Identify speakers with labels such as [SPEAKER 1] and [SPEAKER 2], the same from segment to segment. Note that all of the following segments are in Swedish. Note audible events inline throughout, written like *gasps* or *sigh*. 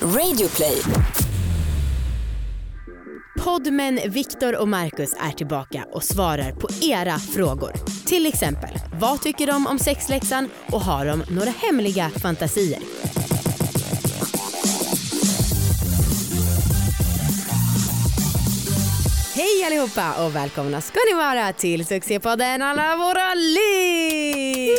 [SPEAKER 1] Radioplay.
[SPEAKER 2] Podmen Viktor och Marcus är tillbaka och svarar på era frågor. Till exempel, vad tycker de om sexläxan och har de några hemliga fantasier? Hej allihopa och välkomna ska ni vara till succépodden Alla våra ligg!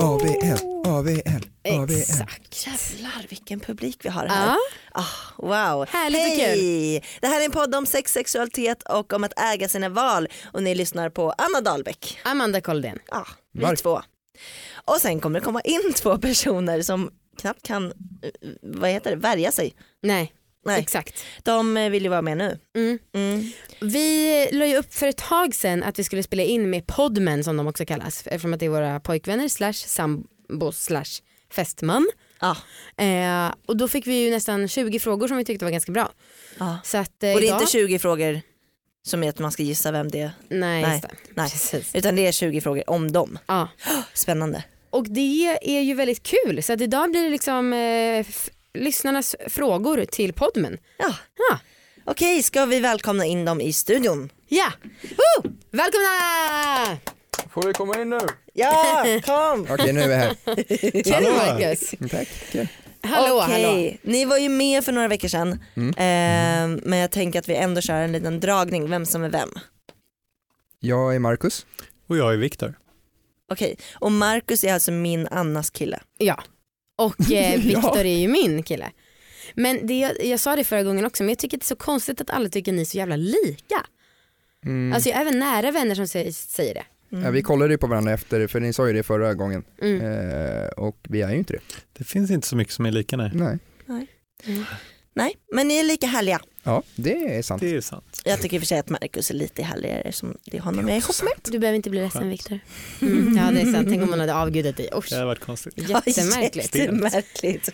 [SPEAKER 3] AVL, AVL, AVL.
[SPEAKER 2] Exakt.
[SPEAKER 4] Jävlar vilken publik vi har här.
[SPEAKER 2] Ja,
[SPEAKER 4] Ah, wow.
[SPEAKER 2] Härligt och
[SPEAKER 4] Hej. Det här är en podd om sex, sexualitet och om att äga sina val. Och ni lyssnar på Anna Dahlbäck.
[SPEAKER 2] Amanda Koldén.
[SPEAKER 4] Ah, vi
[SPEAKER 3] Mark.
[SPEAKER 4] två. Och sen kommer det komma in *laughs* två personer som knappt kan, eh, vad heter det, värja sig.
[SPEAKER 2] Nej,
[SPEAKER 4] Nej.
[SPEAKER 2] exakt.
[SPEAKER 4] De eh, vill ju vara med nu.
[SPEAKER 2] Mm.
[SPEAKER 4] Mm.
[SPEAKER 2] Vi la ju upp för ett tag sedan att vi skulle spela in med podmen som de också kallas eftersom att det är våra pojkvänner slash sambos slash fästman.
[SPEAKER 4] Ah,
[SPEAKER 2] Eh, och då fick vi ju nästan 20 frågor som vi tyckte var ganska bra.
[SPEAKER 4] ah.
[SPEAKER 2] Så att, eh,
[SPEAKER 4] Och det är
[SPEAKER 2] idag...
[SPEAKER 4] inte 20 frågor som är att man ska gissa vem det är.
[SPEAKER 2] Nej,
[SPEAKER 4] Nej,
[SPEAKER 2] just det.
[SPEAKER 4] nej.
[SPEAKER 2] Precis.
[SPEAKER 4] Utan det är 20 frågor om dem. *gasps*
[SPEAKER 2] Ja.
[SPEAKER 4] Spännande.
[SPEAKER 2] Och det är ju väldigt kul så att idag blir det liksom eh, f- lyssnarnas frågor till podmen.
[SPEAKER 4] Ja.
[SPEAKER 2] Ja,
[SPEAKER 4] Okej, ska vi välkomna in dem i studion?
[SPEAKER 2] ja. Woo! välkomna!
[SPEAKER 5] Får vi komma in nu?
[SPEAKER 4] Ja, kom!
[SPEAKER 3] Okej, nu är vi här. Mm,
[SPEAKER 2] Kul Marcus.
[SPEAKER 3] Tack. Kul.
[SPEAKER 2] *laughs* Hallå,
[SPEAKER 4] Okej,
[SPEAKER 2] hallå.
[SPEAKER 4] Ni var ju med för några veckor sedan eh, men jag tänker att vi ändå kör en liten dragning vem som är vem.
[SPEAKER 3] Jag är Marcus.
[SPEAKER 5] Och jag är Viktor.
[SPEAKER 4] Okej, och Marcus är alltså min Annas kille.
[SPEAKER 2] Ja. Och eh, Viktor är ju min kille. Men det, jag, jag sa det förra gången också men jag tycker att det är så konstigt att alla tycker ni är så jävla lika.
[SPEAKER 3] Mm.
[SPEAKER 2] Alltså jag har även nära vänner som säger, säger det.
[SPEAKER 3] Ja, vi kollade ju på varandra efter, för ni sa ju det förra gången.
[SPEAKER 2] Mm.
[SPEAKER 3] Eh, och vi är ju inte det.
[SPEAKER 5] Det finns inte så mycket som är lika nej.
[SPEAKER 3] Nej.
[SPEAKER 4] Nej, men ni är lika härliga.
[SPEAKER 3] Ja, det är sant.
[SPEAKER 5] Det är sant.
[SPEAKER 4] Jag tycker i och för sig att Marcus är lite härligare som det är honom jag är ihop med.
[SPEAKER 2] Du behöver inte bli ledsen Viktor. Mm. Ja det är sant, tänk om hon hade avgudat dig. Usch.
[SPEAKER 5] Det har varit konstigt.
[SPEAKER 4] *laughs*
[SPEAKER 2] Jättemärkligt.
[SPEAKER 4] Jättemärkligt.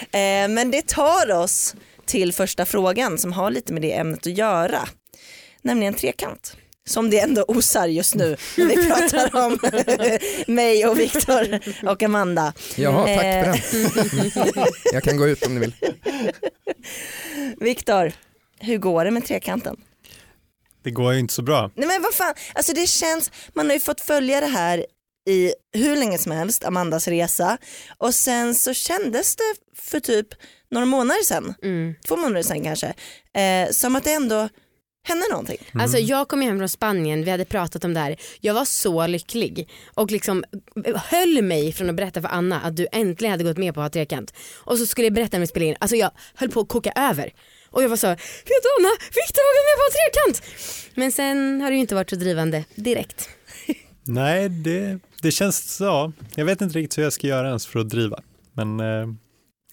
[SPEAKER 4] Eh, men det tar oss till första frågan som har lite med det ämnet att göra. Nämligen trekant. Som det ändå osar just nu när vi pratar om *laughs* mig och Viktor och Amanda.
[SPEAKER 3] Jaha, tack för
[SPEAKER 4] Eh.
[SPEAKER 3] den.
[SPEAKER 2] Eh.
[SPEAKER 3] *laughs* Jag kan gå ut om ni vill.
[SPEAKER 4] Viktor, hur går det med trekanten?
[SPEAKER 5] Det går ju inte så bra.
[SPEAKER 4] Nej men vad fan, alltså det känns, man har ju fått följa det här i hur länge som helst, Amandas resa. Och sen så kändes det för typ några månader sedan,
[SPEAKER 2] Mm.
[SPEAKER 4] två månader sedan kanske, eh, som att det ändå hände någonting.
[SPEAKER 2] Alltså jag kom ju hem från Spanien, vi hade pratat om det här. Jag var så lycklig och liksom höll mig från att berätta för Anna att du äntligen hade gått med på att ha trekant. Och så skulle jag berätta när vi spelade in, alltså jag höll på att koka över. Och jag var så, vet du Anna, Viktor har gått med på att ha trekant. Men sen har det ju inte varit så drivande direkt.
[SPEAKER 5] Nej, det, det känns så. Ja, jag vet inte riktigt hur jag ska göra ens för att driva. Men eh,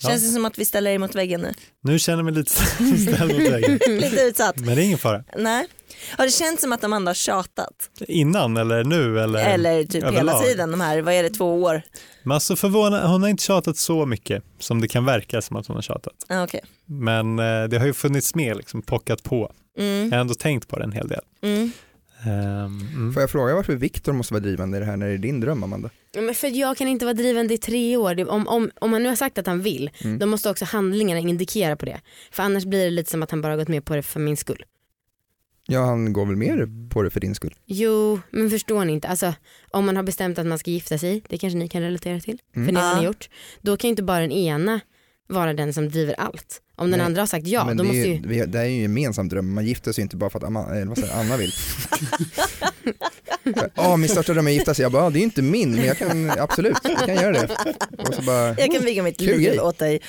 [SPEAKER 5] Ja.
[SPEAKER 4] Känns det som att vi ställer er mot
[SPEAKER 2] *laughs*
[SPEAKER 4] väggen nu?
[SPEAKER 5] nu känner jag mig lite *laughs* ställd mot väggen.
[SPEAKER 2] Mm.
[SPEAKER 4] Lite utsatt.
[SPEAKER 5] Men det är ingen fara.
[SPEAKER 4] Nej. Har det känts som att Amanda har tjatat?
[SPEAKER 5] Innan eller nu eller,
[SPEAKER 4] Eller typ hela
[SPEAKER 5] överlag.
[SPEAKER 4] tiden, de här, vad är det, två år?
[SPEAKER 5] Men alltså förvåna, hon har inte tjatat så mycket som det kan verka som att hon har tjatat.
[SPEAKER 4] Ah, Okej.
[SPEAKER 5] Men eh, det har ju funnits med, liksom pockat på.
[SPEAKER 4] Mm.
[SPEAKER 5] Jag har ändå tänkt på det en hel del.
[SPEAKER 4] Mm.
[SPEAKER 5] Ehm, mm.
[SPEAKER 3] Får jag fråga varför Viktor måste vara drivande i det här när det är din dröm, Amanda?
[SPEAKER 2] Ja, Men för jag kan inte vara drivande i tre år. Det- Om, om, om han nu har sagt att han vill, då måste också handlingarna indikera på det. För annars blir det lite som att han bara har gått med på det för min skull.
[SPEAKER 3] Ja, han går väl mer på det för din skull?
[SPEAKER 2] Jo, men förstår ni inte? Alltså, om man har bestämt att man ska gifta sig, det kanske ni kan relatera till,
[SPEAKER 3] Mm.
[SPEAKER 2] för det har ni
[SPEAKER 4] Ja.
[SPEAKER 2] gjort. Då kan ju inte bara den ena vara den som driver allt. Om den
[SPEAKER 3] Nej.
[SPEAKER 2] andra har sagt ja,
[SPEAKER 3] Men
[SPEAKER 2] då
[SPEAKER 3] det, är
[SPEAKER 2] måste
[SPEAKER 3] ju,
[SPEAKER 2] ju...
[SPEAKER 3] vi- det här är ju en gemensam dröm, man gifter sig inte bara för att Amma, eller vad säger, jag,
[SPEAKER 2] *laughs*
[SPEAKER 3] Anna vill. Ja, min största dröm är att gifta sig. Jag bara, "Ja, det är ju inte min, men jag kan absolut, jag kan göra det. Och så bara,
[SPEAKER 4] Jag
[SPEAKER 2] Oh,
[SPEAKER 4] kan viga mitt
[SPEAKER 3] Kul grej.
[SPEAKER 4] liv åt dig.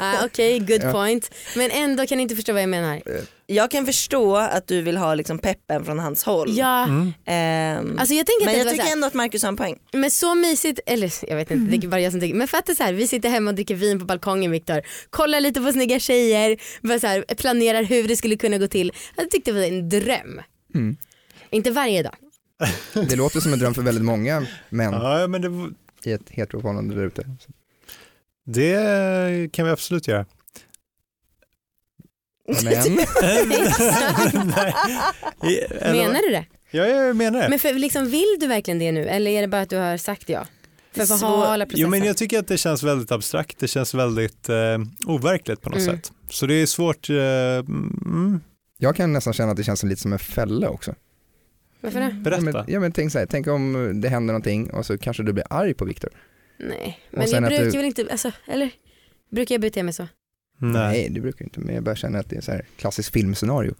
[SPEAKER 2] Ah, Okej, good
[SPEAKER 3] *laughs* Ja. Eh,
[SPEAKER 2] point. Men ändå kan ni inte förstå vad jag menar.
[SPEAKER 4] Jag kan förstå att du vill ha liksom peppen från hans håll.
[SPEAKER 2] Ja,
[SPEAKER 3] mm.
[SPEAKER 4] Ehm,
[SPEAKER 2] alltså jag tänker att
[SPEAKER 4] men
[SPEAKER 2] det
[SPEAKER 4] jag
[SPEAKER 2] var
[SPEAKER 4] tycker Mm.
[SPEAKER 2] så här-
[SPEAKER 4] ändå att Marcus har en poäng.
[SPEAKER 2] Men så mysigt, eller jag vet inte, det är bara jag som tycker. Men fatta så här, vi sitter hemma och dricker vin på balkongen Viktor. Kollar lite på snygga tjejer, bara så här, planerar hur det skulle kunna gå till. Jag tyckte det var en dröm.
[SPEAKER 3] Mm.
[SPEAKER 2] Inte varje dag.
[SPEAKER 3] det låter som en dröm för väldigt många män
[SPEAKER 5] Ja, men det,
[SPEAKER 3] i ett heteroförhållande där ute.
[SPEAKER 5] Det kan vi absolut *laughs* göra.
[SPEAKER 2] *laughs*
[SPEAKER 3] Men,
[SPEAKER 5] Nej. Eller-
[SPEAKER 2] Menar du det?
[SPEAKER 5] Ja, jag menar det.
[SPEAKER 2] Men för, liksom, vill du verkligen det nu eller är det bara att du har sagt ja? För att
[SPEAKER 4] Så-
[SPEAKER 2] förhala processen.
[SPEAKER 5] Jo, men jag tycker att det känns väldigt abstrakt, det känns väldigt eh, overkligt på något
[SPEAKER 2] Mm.
[SPEAKER 5] sätt. Så det är svårt, eh, mm,
[SPEAKER 3] Jag kan nästan känna att det känns lite som en fälla också.
[SPEAKER 2] Varför det?
[SPEAKER 5] berätta.
[SPEAKER 3] Ja, men, ja, men tänk, så här, tänk om det händer någonting och så kanske du blir arg på Viktor.
[SPEAKER 2] Nej,
[SPEAKER 3] Och
[SPEAKER 2] men
[SPEAKER 3] sen
[SPEAKER 2] jag
[SPEAKER 3] att
[SPEAKER 2] brukar
[SPEAKER 3] du-
[SPEAKER 2] väl inte, alltså, eller? Brukar jag bete mig så? *laughs*
[SPEAKER 5] Nej.
[SPEAKER 3] Nej, det brukar jag inte, men jag börjar känna att det är så här klassiskt filmscenario.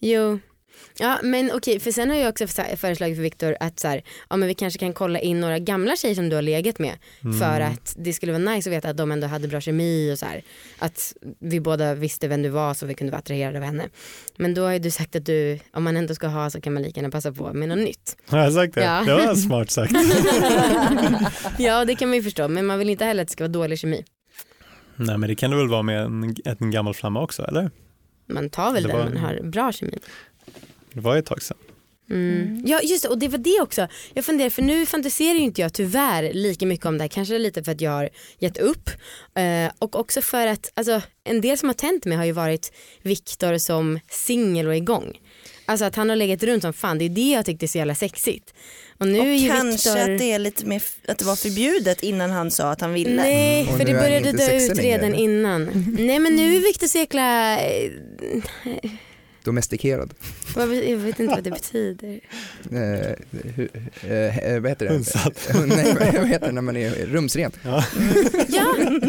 [SPEAKER 2] Jo. Ja men okej, för sen har jag också så här föreslagit för Viktor att så här, ja, men vi kanske kan kolla in några gamla tjejer som du har legat med
[SPEAKER 5] Mm.
[SPEAKER 2] för att det skulle vara nice att veta att de ändå hade bra kemi och så här. Att vi båda visste vem du var så vi kunde vara attraherade av henne. Men då har ju du sagt att du, om man ändå ska ha så kan man lika gärna passa på med något nytt.
[SPEAKER 5] *laughs* Har jag sagt det?
[SPEAKER 2] Ja.
[SPEAKER 5] Det var
[SPEAKER 2] *laughs*
[SPEAKER 5] smart sagt.
[SPEAKER 2] ja det kan man ju förstå men man vill inte heller att det ska vara dålig kemi.
[SPEAKER 5] Nej, men det kan det väl vara med en, en gammal flamma också, eller?
[SPEAKER 2] Man tar väl
[SPEAKER 5] Det
[SPEAKER 2] den
[SPEAKER 5] var-
[SPEAKER 2] man har bra kemi.
[SPEAKER 5] Det var ju ett tag sedan.
[SPEAKER 2] Mm. Ja just det, och det var det också. Jag funderar, för nu fantiserar ju inte jag tyvärr lika mycket om det här. Kanske lite för att jag har gett upp. Eh, och också för att alltså, en del som har tänt mig har ju varit Viktor som singel och igång. Alltså att han har legat runt som fan, det är det jag tyckte är så jävla sexigt. Och nu är
[SPEAKER 4] och
[SPEAKER 2] ju
[SPEAKER 4] kanske
[SPEAKER 2] Viktor...
[SPEAKER 4] att, det är lite mer, att det var förbjudet innan han sa att han ville.
[SPEAKER 2] Nej,
[SPEAKER 3] Mm.
[SPEAKER 2] för
[SPEAKER 3] Och nu
[SPEAKER 2] det
[SPEAKER 3] är han
[SPEAKER 2] började
[SPEAKER 3] inte
[SPEAKER 2] dö
[SPEAKER 3] sexig
[SPEAKER 2] ut
[SPEAKER 3] längre,
[SPEAKER 2] redan
[SPEAKER 3] eller?
[SPEAKER 2] innan. Nej men nu är Viktor så jäkla, eh,
[SPEAKER 3] Domestikerad.
[SPEAKER 2] vad, jag vet inte vad det betyder.
[SPEAKER 3] Eh, hu, eh, eh, vad heter det?
[SPEAKER 5] Hundsatt.
[SPEAKER 3] *laughs* Nej, vad vad heter det när man är rumsren?
[SPEAKER 2] *laughs* Ja,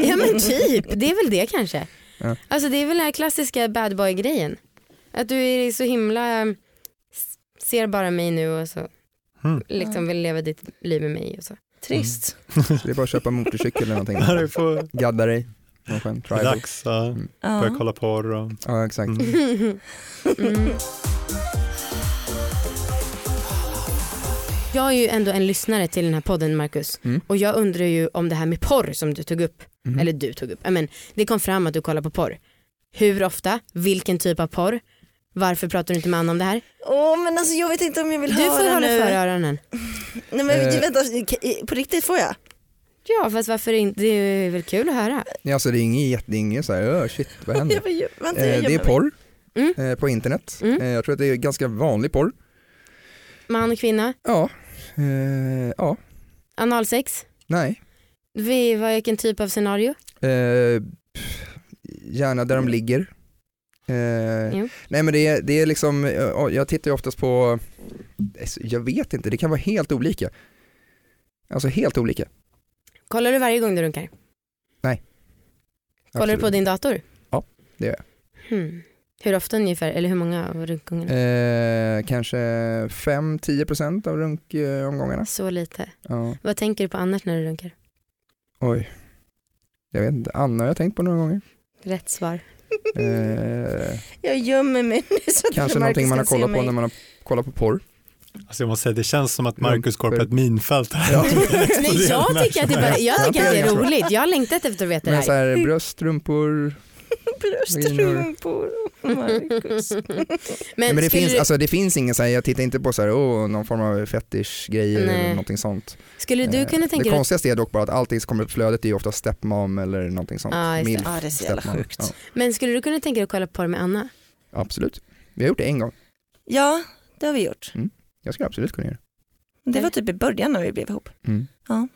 [SPEAKER 2] ja men typ, det är väl det kanske.
[SPEAKER 3] Ja.
[SPEAKER 2] Alltså det är väl den här klassiska bad boy grejen. Att du är så himla, eh, s- ser bara mig nu och så
[SPEAKER 3] *laughs*
[SPEAKER 5] Mm.
[SPEAKER 2] liksom vill leva ditt liv med mig och så. Mm.
[SPEAKER 4] Trist.
[SPEAKER 3] Det är bara att köpa motorcykel eller någonting.
[SPEAKER 5] *laughs* Ja, det får
[SPEAKER 3] Gadda dig. Någon skön tribal.
[SPEAKER 5] dags att börja
[SPEAKER 4] Ja.
[SPEAKER 5] kolla porr och...
[SPEAKER 3] Ja, exakt.
[SPEAKER 5] Mm.
[SPEAKER 2] Mm. Jag är ju ändå en lyssnare till den här podden Marcus
[SPEAKER 3] Mm.
[SPEAKER 2] och jag undrar ju om det här med porr som du tog upp,
[SPEAKER 3] Mhm.
[SPEAKER 2] eller du tog upp, Ja, men det kom fram att du kollar på porr. Hur ofta? Vilken typ av porr? Varför pratar du inte med Anna om det här?
[SPEAKER 4] Åh men alltså jag vet inte om jag vill
[SPEAKER 2] Du
[SPEAKER 4] höra
[SPEAKER 2] får hålla
[SPEAKER 4] nu.
[SPEAKER 2] för öronen.
[SPEAKER 4] Nej men
[SPEAKER 3] Eh.
[SPEAKER 4] vänta, k- på riktigt får jag?
[SPEAKER 2] Ja fast varför inte, det är väl kul att höra.
[SPEAKER 3] Nej, Alltså det är inget jätte, det är inget så här, öh shit vad händer?
[SPEAKER 4] *laughs* Jag, vill ju- vänta, jag
[SPEAKER 3] Eh, det är
[SPEAKER 4] gömmer mig.
[SPEAKER 3] porr
[SPEAKER 2] Mm.
[SPEAKER 3] eh, på internet.
[SPEAKER 2] Mm.
[SPEAKER 3] Eh, jag tror att det är ganska vanlig porr.
[SPEAKER 2] Man och kvinna,
[SPEAKER 3] Ja, eh, ja,
[SPEAKER 2] analsex,
[SPEAKER 3] nej.
[SPEAKER 2] vi, vad- vilken typ av scenario?
[SPEAKER 3] Eh, pff, gärna där de ligger. Eh,
[SPEAKER 2] Jo.
[SPEAKER 3] nej men det är, det är liksom, ja, jag tittar ju oftast på, alltså, jag vet inte, det kan vara helt olika. Alltså helt olika.
[SPEAKER 2] Kollar du varje gång du runkar? Kollar du på din dator?
[SPEAKER 3] Ja, det gör
[SPEAKER 2] jag. Hmm. Hur ofta ungefär, eller hur många av runkgångarna?
[SPEAKER 3] Eh, kanske 5-10% av runkomgångarna.
[SPEAKER 2] Så lite.
[SPEAKER 3] Ja.
[SPEAKER 2] Vad tänker du på annars när du runkar?
[SPEAKER 3] Oj, jag vet inte, Anna har jag tänkt på några gånger.
[SPEAKER 2] Rätt
[SPEAKER 4] *laughs*
[SPEAKER 2] svar.
[SPEAKER 3] Eh,
[SPEAKER 4] Jag gömmer mig nu så att inte
[SPEAKER 3] kanske
[SPEAKER 4] Marcus
[SPEAKER 3] någonting man har
[SPEAKER 4] kan se
[SPEAKER 3] kollat på
[SPEAKER 4] mig.
[SPEAKER 3] när man har kollat på porr.
[SPEAKER 5] Alltså jag måste säga, det känns som att Marcus går på
[SPEAKER 3] Rumper.
[SPEAKER 5] ett minfält här.
[SPEAKER 3] Ja.
[SPEAKER 4] Alltså,
[SPEAKER 2] Nej jag tycker att det, är bara, jag tycker att det är
[SPEAKER 3] Hantering.
[SPEAKER 2] roligt, jag har längtat efter att veta det
[SPEAKER 3] Men
[SPEAKER 2] *laughs*
[SPEAKER 3] så
[SPEAKER 2] här.
[SPEAKER 3] här, bröst, strumpor.
[SPEAKER 4] *laughs* Bröstrumpor och
[SPEAKER 2] Oh
[SPEAKER 4] Marcus.
[SPEAKER 3] Men, men
[SPEAKER 2] skulle
[SPEAKER 3] det, finns,
[SPEAKER 2] du-
[SPEAKER 3] alltså, det finns ingen, så här, jag tittar inte på så här, oh, någon form av fetish-grejer eller
[SPEAKER 2] Nej.
[SPEAKER 3] någonting sånt.
[SPEAKER 2] Skulle du
[SPEAKER 3] Eh,
[SPEAKER 2] kunna tänka
[SPEAKER 3] det
[SPEAKER 2] dig att
[SPEAKER 3] konstigaste är dock bara att allting som kommer upp i flödet är ju ofta stepmom eller någonting sånt.
[SPEAKER 2] Ja, just det.
[SPEAKER 3] Milf,
[SPEAKER 4] Ja det är så jävla
[SPEAKER 3] stepmom.
[SPEAKER 4] sjukt.
[SPEAKER 3] Ja,
[SPEAKER 2] Men skulle du kunna tänka dig att kolla på porr med Anna?
[SPEAKER 3] absolut. Vi har gjort det en gång.
[SPEAKER 4] *laughs* Ja det har vi gjort.
[SPEAKER 3] Jag skulle absolut kunna göra
[SPEAKER 4] Det var typ i början när vi blev ihop.
[SPEAKER 3] det. Mm.
[SPEAKER 4] Ja,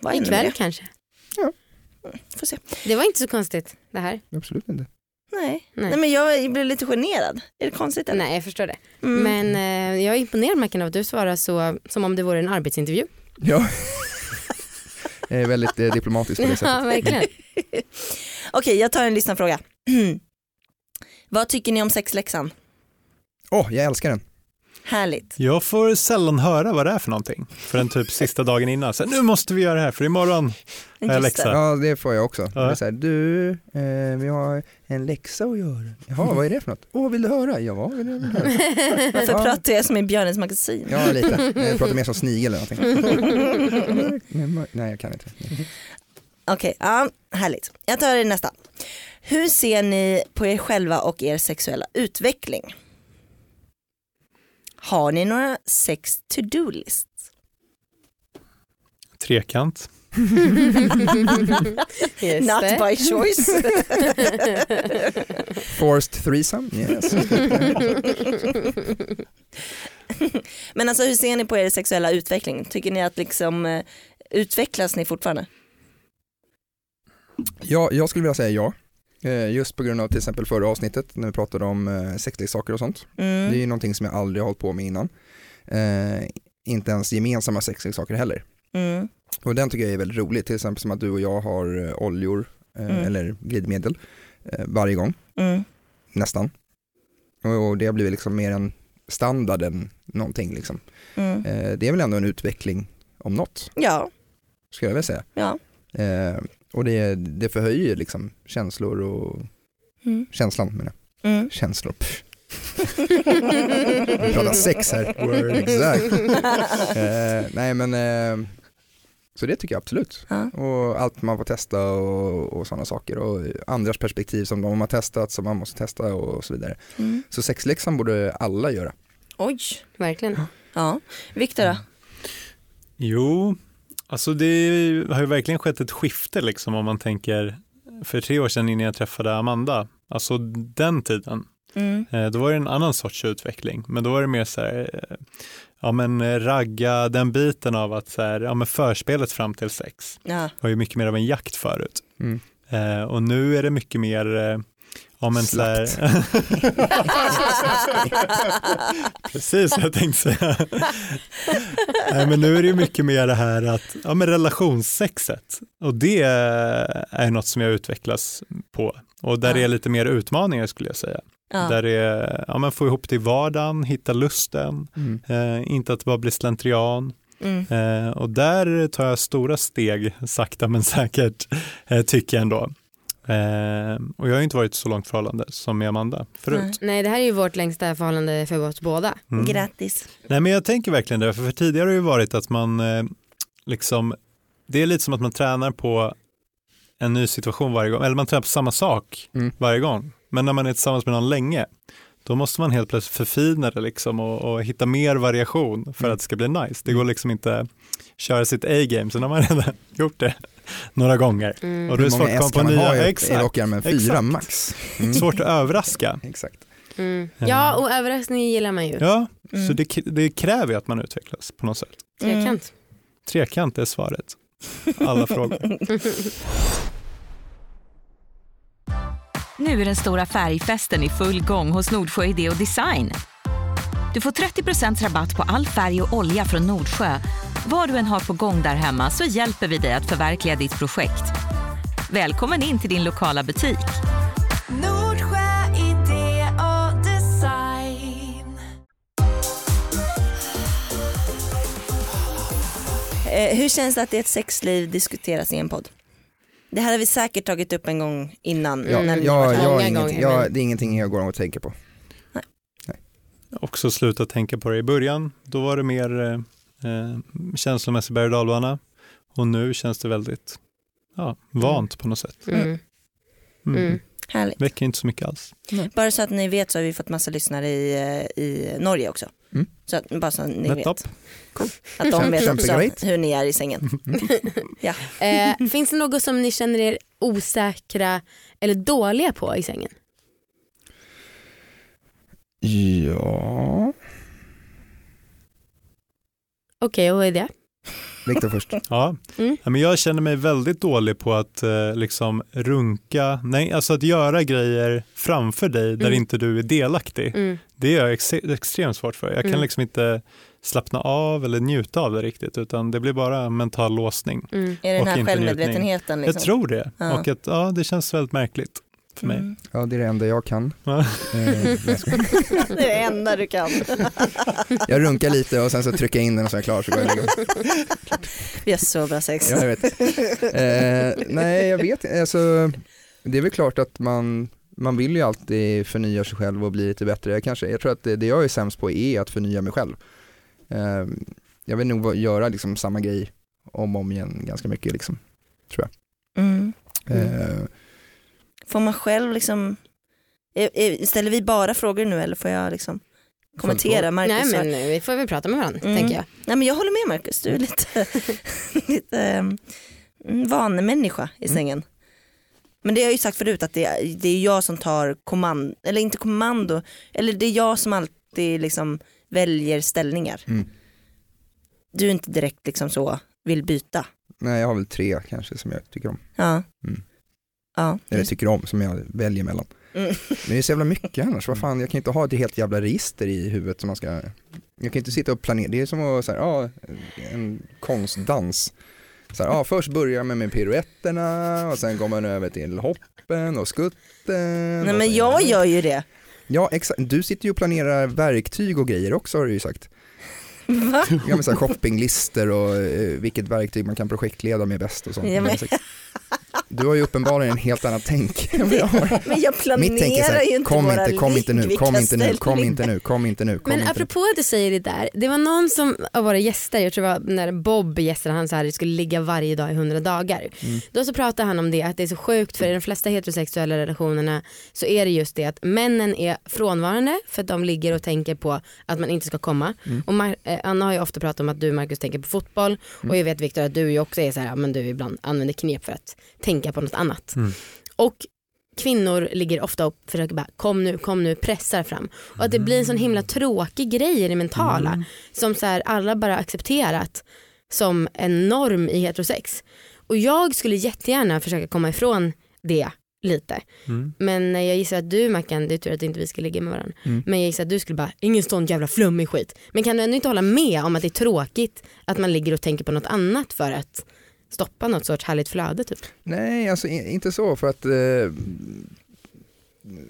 [SPEAKER 4] vad är det med
[SPEAKER 2] Ikväll
[SPEAKER 4] det?
[SPEAKER 2] kanske?
[SPEAKER 4] Får se.
[SPEAKER 2] Det var inte så konstigt det här.
[SPEAKER 3] Absolut inte.
[SPEAKER 4] Nej.
[SPEAKER 2] Nej.
[SPEAKER 4] Nej. men jag blev lite generad. Är det konstigt eller?
[SPEAKER 2] Nej jag förstår det.
[SPEAKER 4] Mm.
[SPEAKER 2] Men eh, jag är imponerad Mackan av att du svarar så, som om det vore en arbetsintervju. *laughs*
[SPEAKER 3] Ja. jag är väldigt eh, diplomatisk på det
[SPEAKER 2] Ja *laughs*
[SPEAKER 3] sättet.
[SPEAKER 2] verkligen.
[SPEAKER 4] Okej jag tar en lyssnarfråga. *clears throat* vad tycker ni om sexläxan?
[SPEAKER 3] Åh, jag älskar den.
[SPEAKER 4] Härligt.
[SPEAKER 5] Jag får sällan höra vad det är för någonting förrän typ sista dagen innan. Så här, nu måste vi göra det här för imorgon.
[SPEAKER 4] Just det.
[SPEAKER 5] läxa.
[SPEAKER 3] Ja, det får jag också. Det är
[SPEAKER 5] Ja.
[SPEAKER 3] så här, du, eh, vi har en läxa att göra. Jaha, vad är det för något? Åh, vill du höra? Ja, vill jag höra.
[SPEAKER 4] Varför
[SPEAKER 3] Ja.
[SPEAKER 4] pratar jag som i Björnens magasin?
[SPEAKER 3] Ja, lite. Jag pratar mer som snigel eller någonting. Nej, jag kan inte.
[SPEAKER 4] *laughs* Okej, ja, härligt. Jag tar nästa. Hur ser ni på er själva och er sexuella utveckling? Har ni några sex to-do-list?
[SPEAKER 5] Trekant.
[SPEAKER 2] Just
[SPEAKER 4] Not
[SPEAKER 2] det.
[SPEAKER 4] by
[SPEAKER 3] *laughs*
[SPEAKER 4] choice.
[SPEAKER 3] Forced threesome? Yes.
[SPEAKER 4] Men alltså hur ser ni på er sexuella utveckling? Tycker ni att liksom eh, utvecklas ni fortfarande?
[SPEAKER 3] Ja, jag skulle vilja säga ja. Eh, Just på grund av till exempel förra avsnittet när vi pratade om eh, sexleksaker och sånt.
[SPEAKER 4] Mm.
[SPEAKER 3] Det är ju någonting som jag aldrig har hållit på med innan. Eh, inte ens gemensamma sexleksaker heller.
[SPEAKER 4] Mm.
[SPEAKER 3] Och den tycker jag är väldigt rolig, till exempel som att du och jag har eh, oljor eh,
[SPEAKER 4] Mm.
[SPEAKER 3] eller glidmedel eh, varje gång,
[SPEAKER 4] Mm.
[SPEAKER 3] nästan. Och, och det har blivit liksom mer en standard än någonting liksom.
[SPEAKER 4] Mm.
[SPEAKER 3] Eh, det är väl ändå en utveckling om något,
[SPEAKER 4] Ja,
[SPEAKER 3] skulle jag vilja säga.
[SPEAKER 4] ja.
[SPEAKER 3] Eh, och det, det förhöjer liksom känslor och
[SPEAKER 4] Mm.
[SPEAKER 3] känslan menar jag.
[SPEAKER 4] Mm.
[SPEAKER 3] Känslor. pff. *laughs* Vi pratar sex här. Word. Exakt.
[SPEAKER 5] *laughs*
[SPEAKER 3] Eh, nej men, eh, så det tycker jag absolut.
[SPEAKER 4] Ja.
[SPEAKER 3] Och allt man får testa och, och sådana saker och andras perspektiv som de har testat som man måste testa och så vidare.
[SPEAKER 4] Mm.
[SPEAKER 3] Så sexläxan borde alla göra.
[SPEAKER 4] Oj,
[SPEAKER 2] *laughs* Verkligen.
[SPEAKER 4] ja. Viktor då?
[SPEAKER 5] Jo, alltså det har ju verkligen skett ett skifte liksom om man tänker för tre år sedan innan jag träffade Amanda, alltså den tiden,
[SPEAKER 4] Mm.
[SPEAKER 5] eh, då var det en annan sorts utveckling, men då var det mer så här, eh, ja men eh, ragga den biten av att så här, ja men förspelet fram till sex *laughs*
[SPEAKER 4] Ja.
[SPEAKER 5] var ju mycket mer av en jakt förut.
[SPEAKER 3] Mm.
[SPEAKER 5] Eh, och nu är det mycket mer, eh, ja men så här, *laughs* Precis vad jag
[SPEAKER 4] *laughs*
[SPEAKER 5] tänkte säga. Nej, men nu är det ju mycket mer det här att, ja men relationssexet och det är något som jag utvecklas på och där
[SPEAKER 4] Ja.
[SPEAKER 5] det är lite mer utmaningar skulle jag säga.
[SPEAKER 4] Ja.
[SPEAKER 5] Där det är, ja men få ihop det i vardagen, hitta lusten,
[SPEAKER 3] Mm.
[SPEAKER 5] eh, inte att det bara blir slentrian
[SPEAKER 4] Mm.
[SPEAKER 5] eh, och där tar jag stora steg sakta men säkert eh, tycker jag ändå. Eh, och jag har ju inte varit i så långt förhållande som med Amanda förut.
[SPEAKER 2] Nej det här är ju vårt längsta förhållande för oss båda.
[SPEAKER 5] Mm.
[SPEAKER 4] Grattis.
[SPEAKER 5] Nej men jag tänker verkligen det, för, för tidigare har det ju varit att man eh, liksom, det är lite som att man tränar på en ny situation varje gång, eller man tränar på samma sak
[SPEAKER 3] Mm.
[SPEAKER 5] varje gång. Men när man är tillsammans med någon länge, då måste man helt plötsligt förfina det liksom och, och hitta mer variation för
[SPEAKER 3] Mm.
[SPEAKER 5] att det ska bli nice. Det går liksom inte köra sitt A-game, sen har man *laughs* redan gjort det några gånger.
[SPEAKER 2] Mm.
[SPEAKER 5] Och
[SPEAKER 3] Hur
[SPEAKER 5] då är det svårt
[SPEAKER 3] många S
[SPEAKER 5] att komma på
[SPEAKER 3] kan man ha
[SPEAKER 5] nya,
[SPEAKER 3] i, i
[SPEAKER 5] exakt,
[SPEAKER 3] rockärmen? Fyra
[SPEAKER 5] exakt.
[SPEAKER 3] max. Mm.
[SPEAKER 5] svårt att överraska.
[SPEAKER 3] Exakt.
[SPEAKER 2] Mm. Ja och överraskning gillar man ju.
[SPEAKER 5] Ja, så
[SPEAKER 4] Mm.
[SPEAKER 5] det, k- det kräver ju att man utvecklas på något sätt.
[SPEAKER 2] Trekant.
[SPEAKER 5] Trekant är svaret. Alla frågor.
[SPEAKER 1] Nu är den stora färgfesten i full gång hos Nordsjö Idé och Design. Du får 30 rabatt på all färg och olja från Nordsjö. Vad du än har på gång där hemma så hjälper vi dig att förverkliga ditt projekt. Välkommen in till din lokala butik.
[SPEAKER 6] Nordsjö idé och design.
[SPEAKER 4] Eh, hur känns det att ert sexliv diskuteras i en podd? Det här har vi säkert tagit upp en gång innan.
[SPEAKER 3] Ja,
[SPEAKER 4] när
[SPEAKER 2] Mm.
[SPEAKER 4] ni
[SPEAKER 3] jag,
[SPEAKER 4] har varit här.
[SPEAKER 3] jag, har
[SPEAKER 2] Många
[SPEAKER 3] inget-
[SPEAKER 2] gånger,
[SPEAKER 3] jag,
[SPEAKER 2] men-
[SPEAKER 3] det är ingenting jag går och tänker på.
[SPEAKER 5] Också sluta tänka på det i början. Då var det mer eh, eh, känslomässig berg och dalbana. Och nu känns det väldigt ja, vant på något sätt.
[SPEAKER 2] Mm.
[SPEAKER 5] Mm.
[SPEAKER 2] *laughs* Mm.
[SPEAKER 4] Härligt.
[SPEAKER 5] Väcker inte så mycket alls.
[SPEAKER 3] Mm.
[SPEAKER 4] Bara så att ni vet så har vi fått massa lyssnare i, eh, i Norge också.
[SPEAKER 3] Mm.
[SPEAKER 4] Så att, bara så att ni
[SPEAKER 5] Net
[SPEAKER 4] vet.
[SPEAKER 5] up.
[SPEAKER 4] Att de vet också
[SPEAKER 3] Kämpegrejt.
[SPEAKER 4] hur ni är i sängen.
[SPEAKER 2] *laughs* Eh, finns det något som ni känner er osäkra eller dåliga på i sängen?
[SPEAKER 3] Ja,
[SPEAKER 5] *laughs*
[SPEAKER 2] Okej och vad är det?
[SPEAKER 3] Viktor först.
[SPEAKER 5] Ja.
[SPEAKER 2] Mm.
[SPEAKER 5] Ja, men jag känner mig väldigt dålig på att eh, liksom runka, nej alltså att göra grejer framför dig där
[SPEAKER 2] Mm.
[SPEAKER 5] inte du är delaktig.
[SPEAKER 2] Mm.
[SPEAKER 5] Det är jag ex- extremt svårt för. Jag kan
[SPEAKER 2] Mm.
[SPEAKER 5] liksom inte slappna av eller njuta av det riktigt utan det blir bara mental låsning.
[SPEAKER 2] Mm.
[SPEAKER 4] Är det den
[SPEAKER 5] Och
[SPEAKER 4] här
[SPEAKER 5] inte njutning.
[SPEAKER 4] självmedvetenheten? Liksom?
[SPEAKER 5] Jag tror det.
[SPEAKER 4] Ja.
[SPEAKER 5] Och att, ja, det känns väldigt märkligt för mig.
[SPEAKER 4] Mm.
[SPEAKER 3] Ja, det är det enda jag kan.
[SPEAKER 5] Ja.
[SPEAKER 2] Mm.
[SPEAKER 3] Eh, jag skojar.
[SPEAKER 4] *laughs* Det är det enda du kan.
[SPEAKER 3] jag runkar lite och sen så trycker jag in den och så är jag klar så går jag och lägger mig.
[SPEAKER 4] *laughs* Vi har så bra sex.
[SPEAKER 3] Ja, jag vet. Eh, nej, jag vet inte. alltså, Det är väl klart att man, man vill ju alltid förnya sig själv och bli lite bättre. Jag, kanske, jag tror att det, det jag är sämst på är att förnya mig själv. Eh, jag vill nog va- göra liksom samma grej om och om igen ganska mycket. Liksom.
[SPEAKER 4] Mm.
[SPEAKER 3] Eh,
[SPEAKER 4] Får man själv liksom, är- är- ställer vi bara frågor nu eller får jag liksom kommentera?
[SPEAKER 2] *laughs*
[SPEAKER 4] Marcus,
[SPEAKER 2] Nej
[SPEAKER 4] har-
[SPEAKER 2] men eh, vi får väl prata med varandra
[SPEAKER 4] Mm.
[SPEAKER 2] tänker jag.
[SPEAKER 4] Nej men jag håller med Marcus, du är lite, *laughs* lite ehm, mm, vanemänniska i
[SPEAKER 3] Mm.
[SPEAKER 4] sängen. Men det har jag ju sagt förut att det är, det är jag som tar kommando, eller inte kommando, eller det är jag som alltid liksom väljer ställningar.
[SPEAKER 3] Mm.
[SPEAKER 4] Du är inte direkt liksom så, vill byta.
[SPEAKER 3] Nej, jag har väl tre kanske som jag tycker om.
[SPEAKER 4] Ja.
[SPEAKER 3] Mm.
[SPEAKER 4] Ja.
[SPEAKER 3] Eller tycker om, som jag väljer mellan.
[SPEAKER 4] Mm.
[SPEAKER 3] Men det är så jävla mycket annars, vad fan, jag kan inte ha ett helt jävla register i huvudet som man ska, jag kan inte sitta och planera, det är som att, så här, ja, en konstdans. Så här, ja, först börjar man med piruetterna och sen går man över till hoppen och skutten.
[SPEAKER 4] Nej
[SPEAKER 3] och
[SPEAKER 4] men
[SPEAKER 3] sen-
[SPEAKER 4] jag gör ju det.
[SPEAKER 3] Ja, exakt, du sitter ju och planerar verktyg och grejer också har du ju sagt.
[SPEAKER 4] Va?
[SPEAKER 3] Ja, men så här, shoppinglister och eh, vilket verktyg man kan projektleda med bäst och sånt.
[SPEAKER 4] Ja, men-
[SPEAKER 3] Du har ju uppenbarligen en helt annat tänk än vad jag har.
[SPEAKER 4] Men jag
[SPEAKER 3] *laughs* Mitt tänk är
[SPEAKER 4] planerar
[SPEAKER 3] så
[SPEAKER 4] ju
[SPEAKER 3] här,
[SPEAKER 4] inte
[SPEAKER 3] kom
[SPEAKER 4] våra
[SPEAKER 3] inte, kom
[SPEAKER 4] liv,
[SPEAKER 3] inte nu,
[SPEAKER 4] vilka
[SPEAKER 3] kom inte nu, kom
[SPEAKER 4] ställningar.
[SPEAKER 3] inte nu, kom inte nu, kom
[SPEAKER 2] Men
[SPEAKER 3] inte nu.
[SPEAKER 2] apropå att du säger det där, det var någon som, av våra gäster, jag tror det var när Bob gästade han så här, det skulle ligga varje dag i 100 dagar. Då så pratade han om det, att det är så sjukt för i de flesta heterosexuella relationerna så är det just det att männen är frånvarande för att de ligger och tänker på att man inte ska komma. Och Mar- eh, Anna har ju ofta pratat om att du Marcus tänker på fotboll och jag vet Viktor att du ju också är så här, ja, men du ibland använder knep för att tänka på något annat. Och kvinnor ligger ofta och försöker bara kom nu, kom nu, pressar fram. Och att det blir en sån himla tråkig grej i det mentala
[SPEAKER 5] Mm.
[SPEAKER 2] som så här, alla bara accepterat som en norm i heterosex. Och jag skulle jättegärna försöka komma ifrån det lite.
[SPEAKER 3] Mm.
[SPEAKER 2] Men eh, jag gissar att du Mackan, det är tur att inte vi ska ligga med varandra. Men jag gissar att du skulle bara, ingen sån jävla flummig skit. Men kan du ändå inte hålla med om att det är tråkigt att man ligger och tänker på något annat för att stoppa något sorts härligt flöde typ?
[SPEAKER 3] Nej, alltså i- inte så för att eh,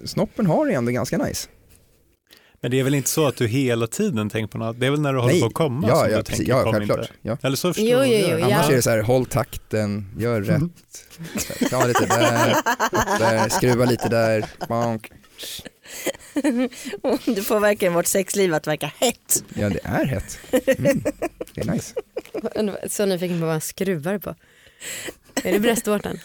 [SPEAKER 3] snoppen har det ändå ganska nice.
[SPEAKER 5] Mm. Men det är väl inte så att du hela tiden tänker på något? Det är väl när du håller
[SPEAKER 3] Nej.
[SPEAKER 5] på att komma
[SPEAKER 3] ja,
[SPEAKER 5] som
[SPEAKER 3] ja,
[SPEAKER 5] Alltså, du
[SPEAKER 3] precis,
[SPEAKER 5] tänker
[SPEAKER 3] ja,
[SPEAKER 5] kom
[SPEAKER 3] självklart.
[SPEAKER 5] inte?
[SPEAKER 3] Ja.
[SPEAKER 5] Eller så förstår
[SPEAKER 2] Jo,
[SPEAKER 5] jag
[SPEAKER 2] jo, jo,
[SPEAKER 5] det.
[SPEAKER 3] Annars
[SPEAKER 2] Ja.
[SPEAKER 3] är det så här, håll takten, gör
[SPEAKER 5] Mm.
[SPEAKER 3] rätt, ta lite där, upp där, skruva lite där, bonk.
[SPEAKER 4] *laughs* Du får verkligen vårt sexliv att verka hett.
[SPEAKER 3] Ja, det är hett. Mm. Det är nice.
[SPEAKER 2] Så nyfiken på vad han skruvar på. Är det bröstvårtan?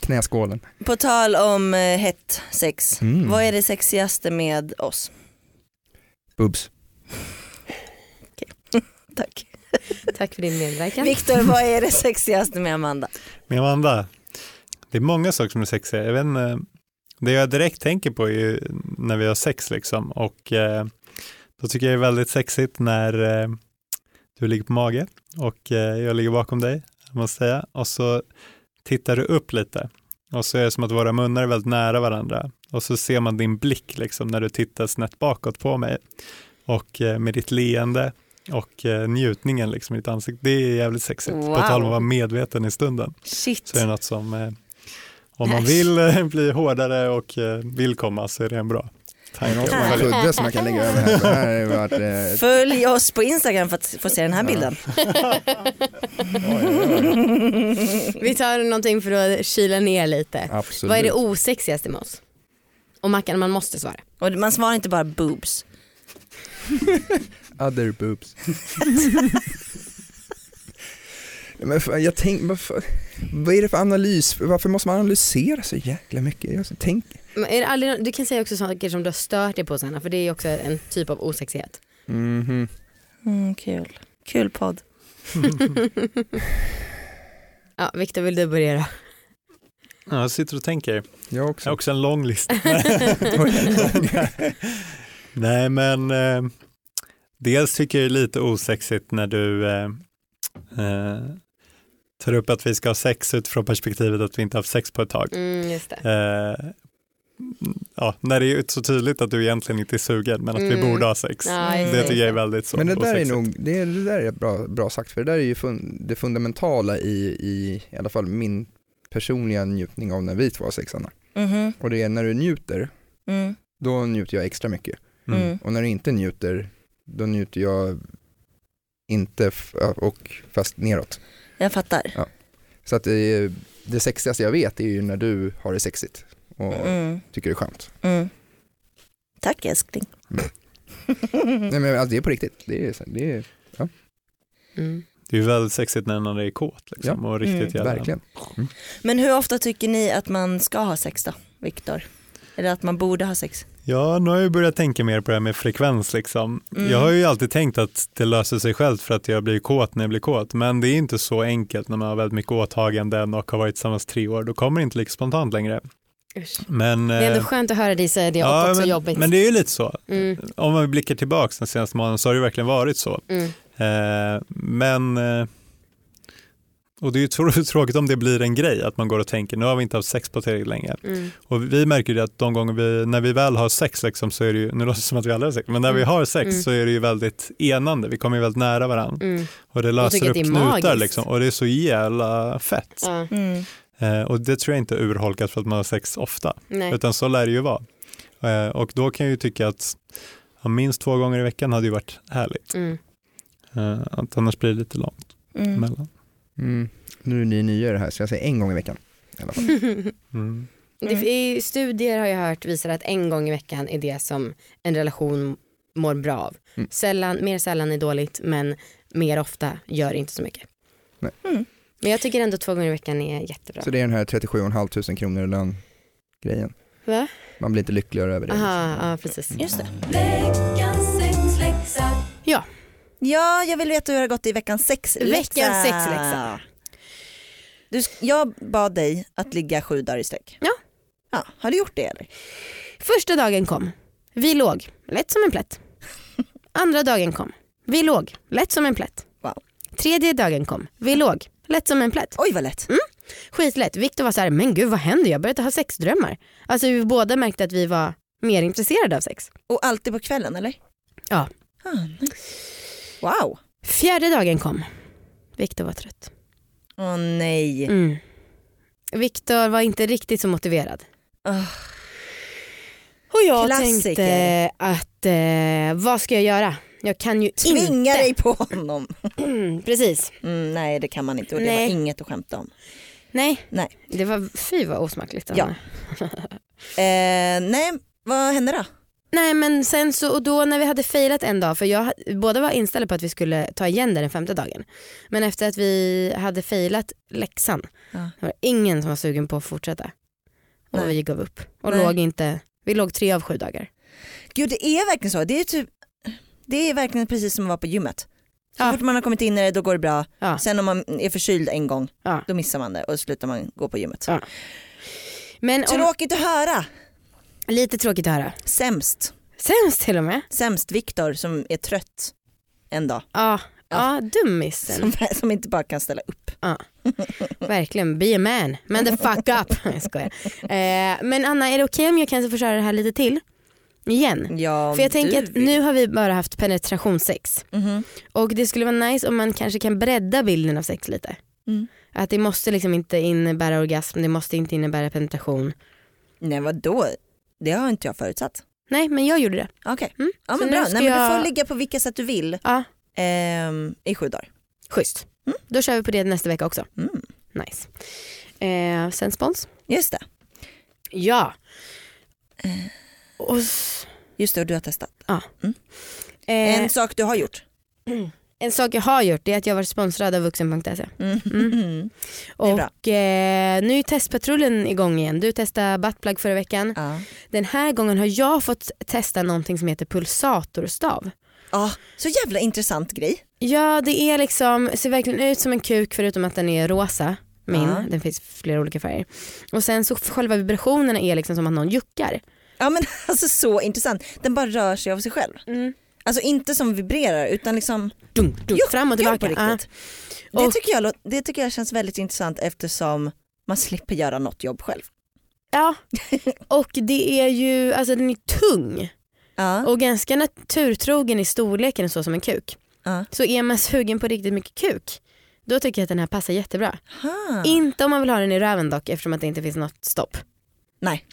[SPEAKER 3] Knäskålen.
[SPEAKER 4] På tal om eh, hett sex,
[SPEAKER 3] Mm.
[SPEAKER 4] vad är det sexigaste med oss?
[SPEAKER 3] Boobs.
[SPEAKER 4] Tack.
[SPEAKER 2] Tack för din medverkan.
[SPEAKER 4] Viktor, vad är det sexigaste med Amanda?
[SPEAKER 5] Men Amanda, det är många saker som är sexiga. Jag vet, inte, det jag direkt tänker på är ju när vi har sex liksom och eh, då tycker jag det är väldigt sexigt när eh, du ligger på mage och eh, jag ligger bakom dig, måste jag säga, och så tittar du upp lite och så är det som att våra munnar är väldigt nära varandra och så ser man din blick liksom när du tittar snett bakåt på mig och eh, med ditt leende och eh, njutningen liksom i ditt ansikte. Det är jävligt sexigt, på
[SPEAKER 4] Wow.
[SPEAKER 5] tal om att vara medveten i stunden
[SPEAKER 4] Shit.
[SPEAKER 5] så är det något som eh, om man
[SPEAKER 4] Nice.
[SPEAKER 5] vill eh, bli hårdare och eh, vill komma så är det en bra
[SPEAKER 3] Det är någon som
[SPEAKER 5] tanke.
[SPEAKER 3] har en kudde som man kan lägga över här. Det här har ju varit, eh,
[SPEAKER 4] Följ oss på Instagram för att få se den här bilden.
[SPEAKER 2] Vi tar någonting för att kyla ner lite.
[SPEAKER 3] absolut.
[SPEAKER 2] Vad är det osexigaste med oss? Och Mackan, man måste svara.
[SPEAKER 4] Och man svarar inte bara boobs.
[SPEAKER 3] Other *laughs* boobs. Men fan, jag tänk, vad, fan- vad är det för analys? Varför måste man analysera så jäkla mycket? Jag tänk,
[SPEAKER 2] Men är det aldrig, du kan säga också saker som du har stört dig på Sanna, för det är ju också en typ av osexighet.
[SPEAKER 3] Mhm.
[SPEAKER 4] Mm, kul. Kul podd.
[SPEAKER 2] Ja, Viktor vill du börja då?
[SPEAKER 5] Ja, jag sitter och tänker.
[SPEAKER 3] Jag
[SPEAKER 5] Jag har
[SPEAKER 3] också.
[SPEAKER 5] också en
[SPEAKER 2] *laughs*
[SPEAKER 5] lång lista. *laughs* Nej men eh, dels tycker jag det är lite osexigt när du eh, eh, tar upp att vi ska ha sex utifrån perspektivet att vi inte haft sex på ett tag.
[SPEAKER 2] Mm, just det.
[SPEAKER 5] Eh, ja, när det är så tydligt att du egentligen inte är sugen men att vi
[SPEAKER 2] Mm.
[SPEAKER 5] borde ha sex.
[SPEAKER 2] Ja, just
[SPEAKER 5] Det tycker jag är
[SPEAKER 2] just
[SPEAKER 5] väldigt så
[SPEAKER 3] Men det där är
[SPEAKER 5] osexigt.
[SPEAKER 3] nog, det, är- det där är bra, bra sagt för det där är ju fun, det fundamentala i, i, i alla fall min personliga njutning av när vi två har sex Anna.
[SPEAKER 4] Mhm,
[SPEAKER 3] Och det är när du njuter,
[SPEAKER 4] mm,
[SPEAKER 3] då njuter jag extra mycket.
[SPEAKER 4] mm.
[SPEAKER 3] Och när du inte njuter, då njuter jag inte f- och fast neråt.
[SPEAKER 4] Jag fattar.
[SPEAKER 3] Så att det, det sexigaste jag vet är ju när du har det sexigt och
[SPEAKER 4] Mm,
[SPEAKER 3] tycker det är skönt.
[SPEAKER 4] mm. Tack älskling.
[SPEAKER 3] Nej men alltså, det är på riktigt, det är, så- det är
[SPEAKER 2] Mm.
[SPEAKER 5] Det är ju väldigt sexigt när någon är kåt liksom, och riktigt
[SPEAKER 4] Mm.
[SPEAKER 5] jävla...
[SPEAKER 3] verkligen.
[SPEAKER 4] Men hur ofta tycker ni att man ska ha sex då, Viktor? Eller att man borde ha sex?
[SPEAKER 5] Ja, nu har jag ju börjat tänka mer på det här med frekvens liksom.
[SPEAKER 4] Mm.
[SPEAKER 5] Jag har ju alltid tänkt att det löser sig självt för att jag blir kåt när jag blir kåt, men det är inte så enkelt när man har väldigt mycket åtaganden och har varit tillsammans tre år, då kommer det inte lika spontant längre.
[SPEAKER 2] Usch.
[SPEAKER 5] Men,
[SPEAKER 2] Det är ändå
[SPEAKER 5] eh,
[SPEAKER 2] skönt att höra dig säga det och
[SPEAKER 5] ja,
[SPEAKER 2] också
[SPEAKER 5] men,
[SPEAKER 2] jobbigt.
[SPEAKER 5] Men det är ju lite så.
[SPEAKER 2] mm,
[SPEAKER 5] Om man blickar tillbaka den senaste månaden så har det ju verkligen varit så.
[SPEAKER 2] mm.
[SPEAKER 5] Eh, men, eh, och det är ju tr- *laughs* tråkigt om det blir en grej att man går och tänker nu har vi inte haft sex på tillräckligt länge.
[SPEAKER 2] Mm.
[SPEAKER 5] Och vi märker ju det att de gånger vi, när vi väl har sex, liksom, så är det ju, nu låter det som att vi aldrig har sex, men när vi har sex
[SPEAKER 2] Mm.
[SPEAKER 5] så är det ju väldigt enande, vi kommer ju väldigt nära varandra.
[SPEAKER 2] Mm.
[SPEAKER 5] Och det
[SPEAKER 2] tycker
[SPEAKER 5] löser
[SPEAKER 2] att
[SPEAKER 5] upp
[SPEAKER 2] det är
[SPEAKER 5] knutar
[SPEAKER 2] magiskt.
[SPEAKER 5] liksom, och det är så jävla fett.
[SPEAKER 2] Ja,
[SPEAKER 4] Mm.
[SPEAKER 5] Eh, och det tror jag inte är urholkat för att man har sex ofta,
[SPEAKER 2] nej.
[SPEAKER 5] utan så lär det ju vara. Eh, och då kan jag ju tycka att ja, minst två gånger i veckan hade ju varit härligt.
[SPEAKER 2] Mm.
[SPEAKER 5] Eh, att annars blir det lite långt
[SPEAKER 4] Mm.
[SPEAKER 5] emellan.
[SPEAKER 3] Mm. Nu är ni nya i det här så jag säger en gång i veckan. I alla fall.
[SPEAKER 2] *laughs*
[SPEAKER 5] Mm.
[SPEAKER 2] Det, i studier har jag hört visar att en gång i veckan är det som en relation mår bra av.
[SPEAKER 3] Mm.
[SPEAKER 2] Sällan, mer sällan är dåligt men mer ofta gör inte så mycket.
[SPEAKER 3] Nej.
[SPEAKER 4] Mm.
[SPEAKER 2] Men jag tycker ändå två gånger i veckan är jättebra.
[SPEAKER 3] Så det är den här 37 tusen kronor i lön grejen.
[SPEAKER 2] Va?
[SPEAKER 3] Man blir inte lyckligare över det.
[SPEAKER 2] Aha, ja, precis.
[SPEAKER 3] Mm.
[SPEAKER 4] Just det.
[SPEAKER 6] Veckans sexläxa.
[SPEAKER 4] Ja, jag vill veta hur det har gått i veckans sexläxa.
[SPEAKER 2] Veckans sexläxa.
[SPEAKER 4] Du, sk- jag bad dig att ligga sju dagar i sträck.
[SPEAKER 2] Ja.
[SPEAKER 4] ja. Har du gjort det eller?
[SPEAKER 2] Första dagen kom. Vi låg, lätt som en plätt. Andra dagen kom. Vi låg, lätt som en plätt.
[SPEAKER 4] Wow.
[SPEAKER 2] Tredje dagen kom. Vi låg, lätt som en plätt.
[SPEAKER 4] Oj vad
[SPEAKER 2] Mm.
[SPEAKER 4] lätt.
[SPEAKER 2] Skitlätt. Viktor var så här, men gud vad händer? Jag började ha sexdrömmar. Alltså vi båda märkte att vi var mer intresserade av sex.
[SPEAKER 4] Och alltid på kvällen eller?
[SPEAKER 2] Ja.
[SPEAKER 4] Ah, nice. Wow.
[SPEAKER 2] Fjärde dagen kom. Viktor var trött.
[SPEAKER 4] Åh nej.
[SPEAKER 2] Mm. Viktor var inte riktigt så motiverad.
[SPEAKER 4] Ah.
[SPEAKER 2] Och jag
[SPEAKER 4] Klassiker.
[SPEAKER 2] tänkte att eh, vad ska jag göra? Jag kan ju
[SPEAKER 4] Tvinga
[SPEAKER 2] inte.
[SPEAKER 4] dig på honom.
[SPEAKER 2] Mm, *clears throat* precis.
[SPEAKER 4] Mm, nej det kan man inte och det
[SPEAKER 2] Nej.
[SPEAKER 4] var inget att skämta om.
[SPEAKER 2] Nej.
[SPEAKER 4] Nej.
[SPEAKER 2] Det var, fy vad osmakligt. av
[SPEAKER 4] Ja.
[SPEAKER 2] mig. *laughs*
[SPEAKER 4] Eh, nej, vad hände då?
[SPEAKER 2] Nej men sen så, och då när vi hade failat en dag, för jag, båda var inställda på att vi skulle ta igen det den femte dagen. Men efter att vi hade failat läxan,
[SPEAKER 4] Ja.
[SPEAKER 2] det var ingen som var sugen på att fortsätta. Och
[SPEAKER 4] Nej.
[SPEAKER 2] vi gav upp. Och
[SPEAKER 4] Nej.
[SPEAKER 2] låg inte, vi låg tre av sju dagar.
[SPEAKER 4] Gud det är verkligen så. Det är, typ, det är verkligen precis som att vara på gymmet. Så
[SPEAKER 2] Ja.
[SPEAKER 4] fort man har kommit in i det då går det bra.
[SPEAKER 2] Ja.
[SPEAKER 4] Sen om man är förkyld en gång
[SPEAKER 2] Ja.
[SPEAKER 4] då missar man det och slutar man gå på gymmet.
[SPEAKER 2] Ja. Men om,
[SPEAKER 4] Tråkigt att höra.
[SPEAKER 2] lite tråkigt att höra.
[SPEAKER 4] Sämst.
[SPEAKER 2] Sämst till och med.
[SPEAKER 4] Sämst Viktor som är trött en dag.
[SPEAKER 2] Ja, ja.
[SPEAKER 4] Ja.
[SPEAKER 2] dummisen.
[SPEAKER 4] Som, *laughs* som inte bara kan ställa upp.
[SPEAKER 2] Verkligen, be a man. Men the fuck up. *laughs*
[SPEAKER 4] *laughs*
[SPEAKER 2] Jag skojar. Eh, men Anna, är det okej om jag kanske får köra det här lite till? Igen.
[SPEAKER 4] Ja, om
[SPEAKER 2] För jag
[SPEAKER 4] du
[SPEAKER 2] tänker att
[SPEAKER 4] vill.
[SPEAKER 2] nu har vi bara haft penetrationssex
[SPEAKER 4] Mhm.
[SPEAKER 2] och det skulle vara nice om man kanske kan bredda bilden av sex lite.
[SPEAKER 4] Mm.
[SPEAKER 2] Att det måste liksom inte innebära orgasm, det måste inte innebära penetration.
[SPEAKER 4] Nej vadå? Det har inte jag förutsatt.
[SPEAKER 2] Nej men jag gjorde det.
[SPEAKER 4] Okej,
[SPEAKER 2] Mm.
[SPEAKER 4] ja,
[SPEAKER 2] Så
[SPEAKER 4] men
[SPEAKER 2] nu
[SPEAKER 4] bra.
[SPEAKER 2] ska
[SPEAKER 4] Nej, men du
[SPEAKER 2] jag-
[SPEAKER 4] får ligga på vilka sätt du vill
[SPEAKER 2] Ja,
[SPEAKER 4] ehm, i sju dagar.
[SPEAKER 2] schysst.
[SPEAKER 4] Mm.
[SPEAKER 2] Då kör vi på det nästa vecka också.
[SPEAKER 4] Mm.
[SPEAKER 2] Nice. Eh, sen spons?
[SPEAKER 4] Just det,
[SPEAKER 2] Ja. Eh, Och s-
[SPEAKER 4] just det och du har testat.
[SPEAKER 2] eh,
[SPEAKER 4] En sak du har gjort.
[SPEAKER 2] en sak jag har gjort det är att jag varit sponsrad av vuxen.se.
[SPEAKER 4] Mm. är bra.
[SPEAKER 2] Och eh, nu är testpatrullen igång igen. Du testade buttplug förra veckan.
[SPEAKER 4] Ja.
[SPEAKER 2] Den här gången har jag fått testa någonting som heter pulsatorstav.
[SPEAKER 4] Ja, så jävla intressant grej.
[SPEAKER 2] Ja det är liksom, ser verkligen ut som en kuk förutom att den är rosa. Min,
[SPEAKER 4] Ja.
[SPEAKER 2] den finns flera olika färger. Och sen så själva vibrationerna är liksom som att någon juckar.
[SPEAKER 4] Ja men *laughs* alltså så intressant. Den bara rör sig av sig själv.
[SPEAKER 2] Mm.
[SPEAKER 4] Alltså inte som vibrerar utan liksom
[SPEAKER 2] Dunk, dunk,
[SPEAKER 4] Juckar
[SPEAKER 2] fram och tillbaka.
[SPEAKER 4] på riktigt.
[SPEAKER 2] Ja.
[SPEAKER 4] Det,
[SPEAKER 2] Och,
[SPEAKER 4] tycker jag, lå- det tycker jag känns väldigt intressant eftersom man slipper göra något jobb själv.
[SPEAKER 2] ja. och det är ju, alltså den är tung
[SPEAKER 4] Ja.
[SPEAKER 2] och ganska naturtrogen i storleken så som en kuk.
[SPEAKER 4] Ja.
[SPEAKER 2] Så är man sugen på riktigt mycket kuk, då tycker jag att den här passar jättebra.
[SPEAKER 4] Aha.
[SPEAKER 2] Inte om man vill ha den i röven dock eftersom att det inte finns något stopp.
[SPEAKER 4] Nej.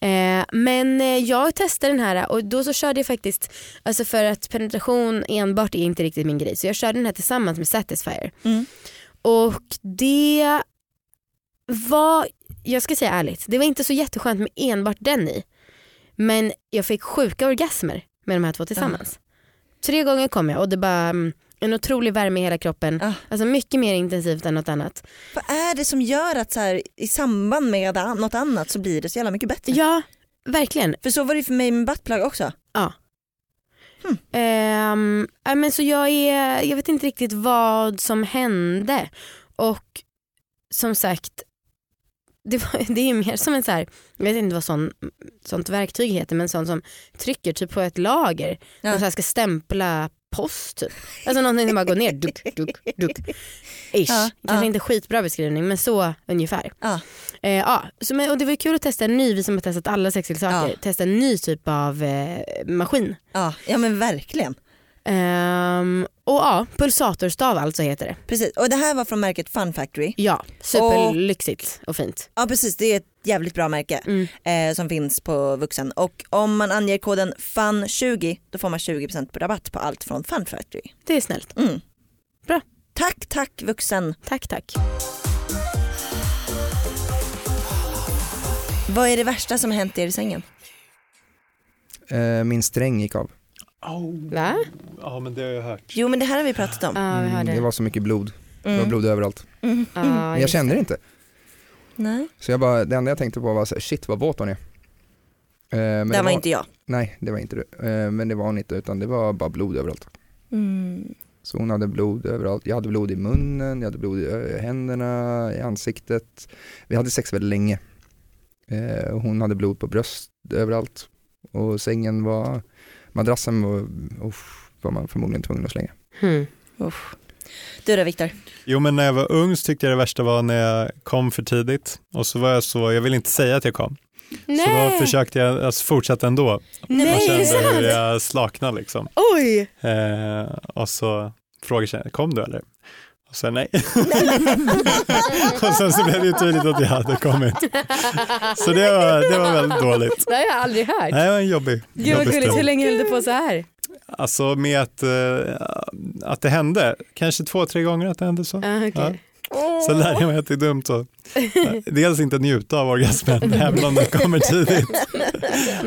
[SPEAKER 2] Eh, men eh, jag testade den här och då så körde jag faktiskt, alltså för att penetration enbart är inte riktigt min grej, så jag körde den här tillsammans med Satisfyer.
[SPEAKER 4] Mm.
[SPEAKER 2] Och det var, jag ska säga ärligt, det var inte så jätteskönt med enbart den i. Men jag fick sjuka orgasmer med de här två tillsammans. Tre gånger kom jag och det bara mm, en otrolig värme i hela kroppen.
[SPEAKER 4] Ah.
[SPEAKER 2] Alltså mycket mer intensivt än något annat.
[SPEAKER 4] Vad är det som gör att så här, i samband med an- något annat så blir det så jävla mycket bättre?
[SPEAKER 2] Ja, verkligen.
[SPEAKER 4] För så var det ju för mig med buttplug också.
[SPEAKER 2] Ehm, ja, men så jag, är, jag vet inte riktigt vad som hände och som sagt det, var, *laughs* det är ju mer som en så här, jag vet inte vad sån, sånt verktyg heter men sånt som trycker typ på ett lager
[SPEAKER 4] Ja.
[SPEAKER 2] som så här ska stämpla post typ. Alltså någonting som bara
[SPEAKER 4] *laughs*
[SPEAKER 2] går ner duk, duk, duk. Ish.
[SPEAKER 4] Ja,
[SPEAKER 2] Kanske
[SPEAKER 4] ja.
[SPEAKER 2] inte skitbra beskrivning men så ungefär.
[SPEAKER 4] Ja.
[SPEAKER 2] Eh, ja. Så, men, och det var ju kul att testa en ny, vi som har testat alla sexleksaker,
[SPEAKER 4] Ja.
[SPEAKER 2] testa en ny typ av eh, maskin.
[SPEAKER 4] Ja, ja men verkligen.
[SPEAKER 2] Ehm, och ja, pulsatorstav alltså heter det.
[SPEAKER 4] Precis. Och det här var från märket Fun Factory.
[SPEAKER 2] Ja, superlyxigt och fint.
[SPEAKER 4] Ja precis, det är ett jävligt bra märke
[SPEAKER 2] Mm.
[SPEAKER 4] eh, som finns på vuxen. Och om man anger koden FUN20 då får man 20% på rabatt på allt från Fun Factory.
[SPEAKER 2] Det är snällt.
[SPEAKER 4] Mm.
[SPEAKER 2] Bra.
[SPEAKER 4] Tack, tack vuxen.
[SPEAKER 2] Tack tack.
[SPEAKER 4] Vad är det värsta som har hänt er i sängen?
[SPEAKER 3] Eh, min sträng gick av.
[SPEAKER 2] Va?
[SPEAKER 5] Ja men det har jag hört.
[SPEAKER 4] Jo men det här har vi pratat om.
[SPEAKER 2] Ja,
[SPEAKER 5] Mm,
[SPEAKER 2] vi hörde.
[SPEAKER 3] Mm, det var så mycket blod. Det var
[SPEAKER 4] Mm.
[SPEAKER 3] blod överallt.
[SPEAKER 4] Mm.
[SPEAKER 2] Ja,
[SPEAKER 3] Men jag
[SPEAKER 2] just
[SPEAKER 3] kände
[SPEAKER 2] det.
[SPEAKER 3] det inte.
[SPEAKER 4] Nej.
[SPEAKER 3] Så jag bara, det enda jag tänkte på var så här, shit vad våt hon är. Eh, men
[SPEAKER 4] det var inte jag.
[SPEAKER 3] Nej, det var inte du. Eh, men det var hon inte, utan det var bara blod överallt.
[SPEAKER 4] Mm.
[SPEAKER 3] Så hon hade blod överallt. Jag hade blod i munnen, jag hade blod i ö- händerna, i ansiktet. Vi hade sex väldigt länge. Eh, och hon hade blod på bröst överallt. Och sängen var, madrassen var, uff, var man förmodligen tvungen att slänga.
[SPEAKER 2] Hmm.
[SPEAKER 4] Usch. Du då Viktor?
[SPEAKER 5] Jo men när jag var ung så tyckte jag det värsta var när jag kom för tidigt och så var jag så, jag ville inte säga att jag kom. Så då
[SPEAKER 2] Nej!
[SPEAKER 5] försökte jag alltså, fortsätta ändå. Man
[SPEAKER 2] Nej, är det
[SPEAKER 5] kände hur
[SPEAKER 2] sant?
[SPEAKER 5] jag slaknade liksom.
[SPEAKER 2] Oj!
[SPEAKER 5] Eh, och så frågade jag, kom du eller? Och sen nej. *laughs* och sen så blev det ju tydligt att jag hade kommit. Så det var, det var väldigt dåligt.
[SPEAKER 2] Det har jag aldrig hört.
[SPEAKER 5] Nej, det var en jobbig,
[SPEAKER 2] Gud vad
[SPEAKER 5] jobbig
[SPEAKER 2] gulligt, hur
[SPEAKER 5] stund.
[SPEAKER 2] länge höll du på så här?
[SPEAKER 5] Alltså med att, eh, att det hände, kanske två, tre gånger att det hände så.
[SPEAKER 2] Ah,
[SPEAKER 5] Ja.
[SPEAKER 2] okay.
[SPEAKER 5] Så lärde jag mig att det är dumt att dels inte njuta av orgasmen *laughs* även om den kommer tidigt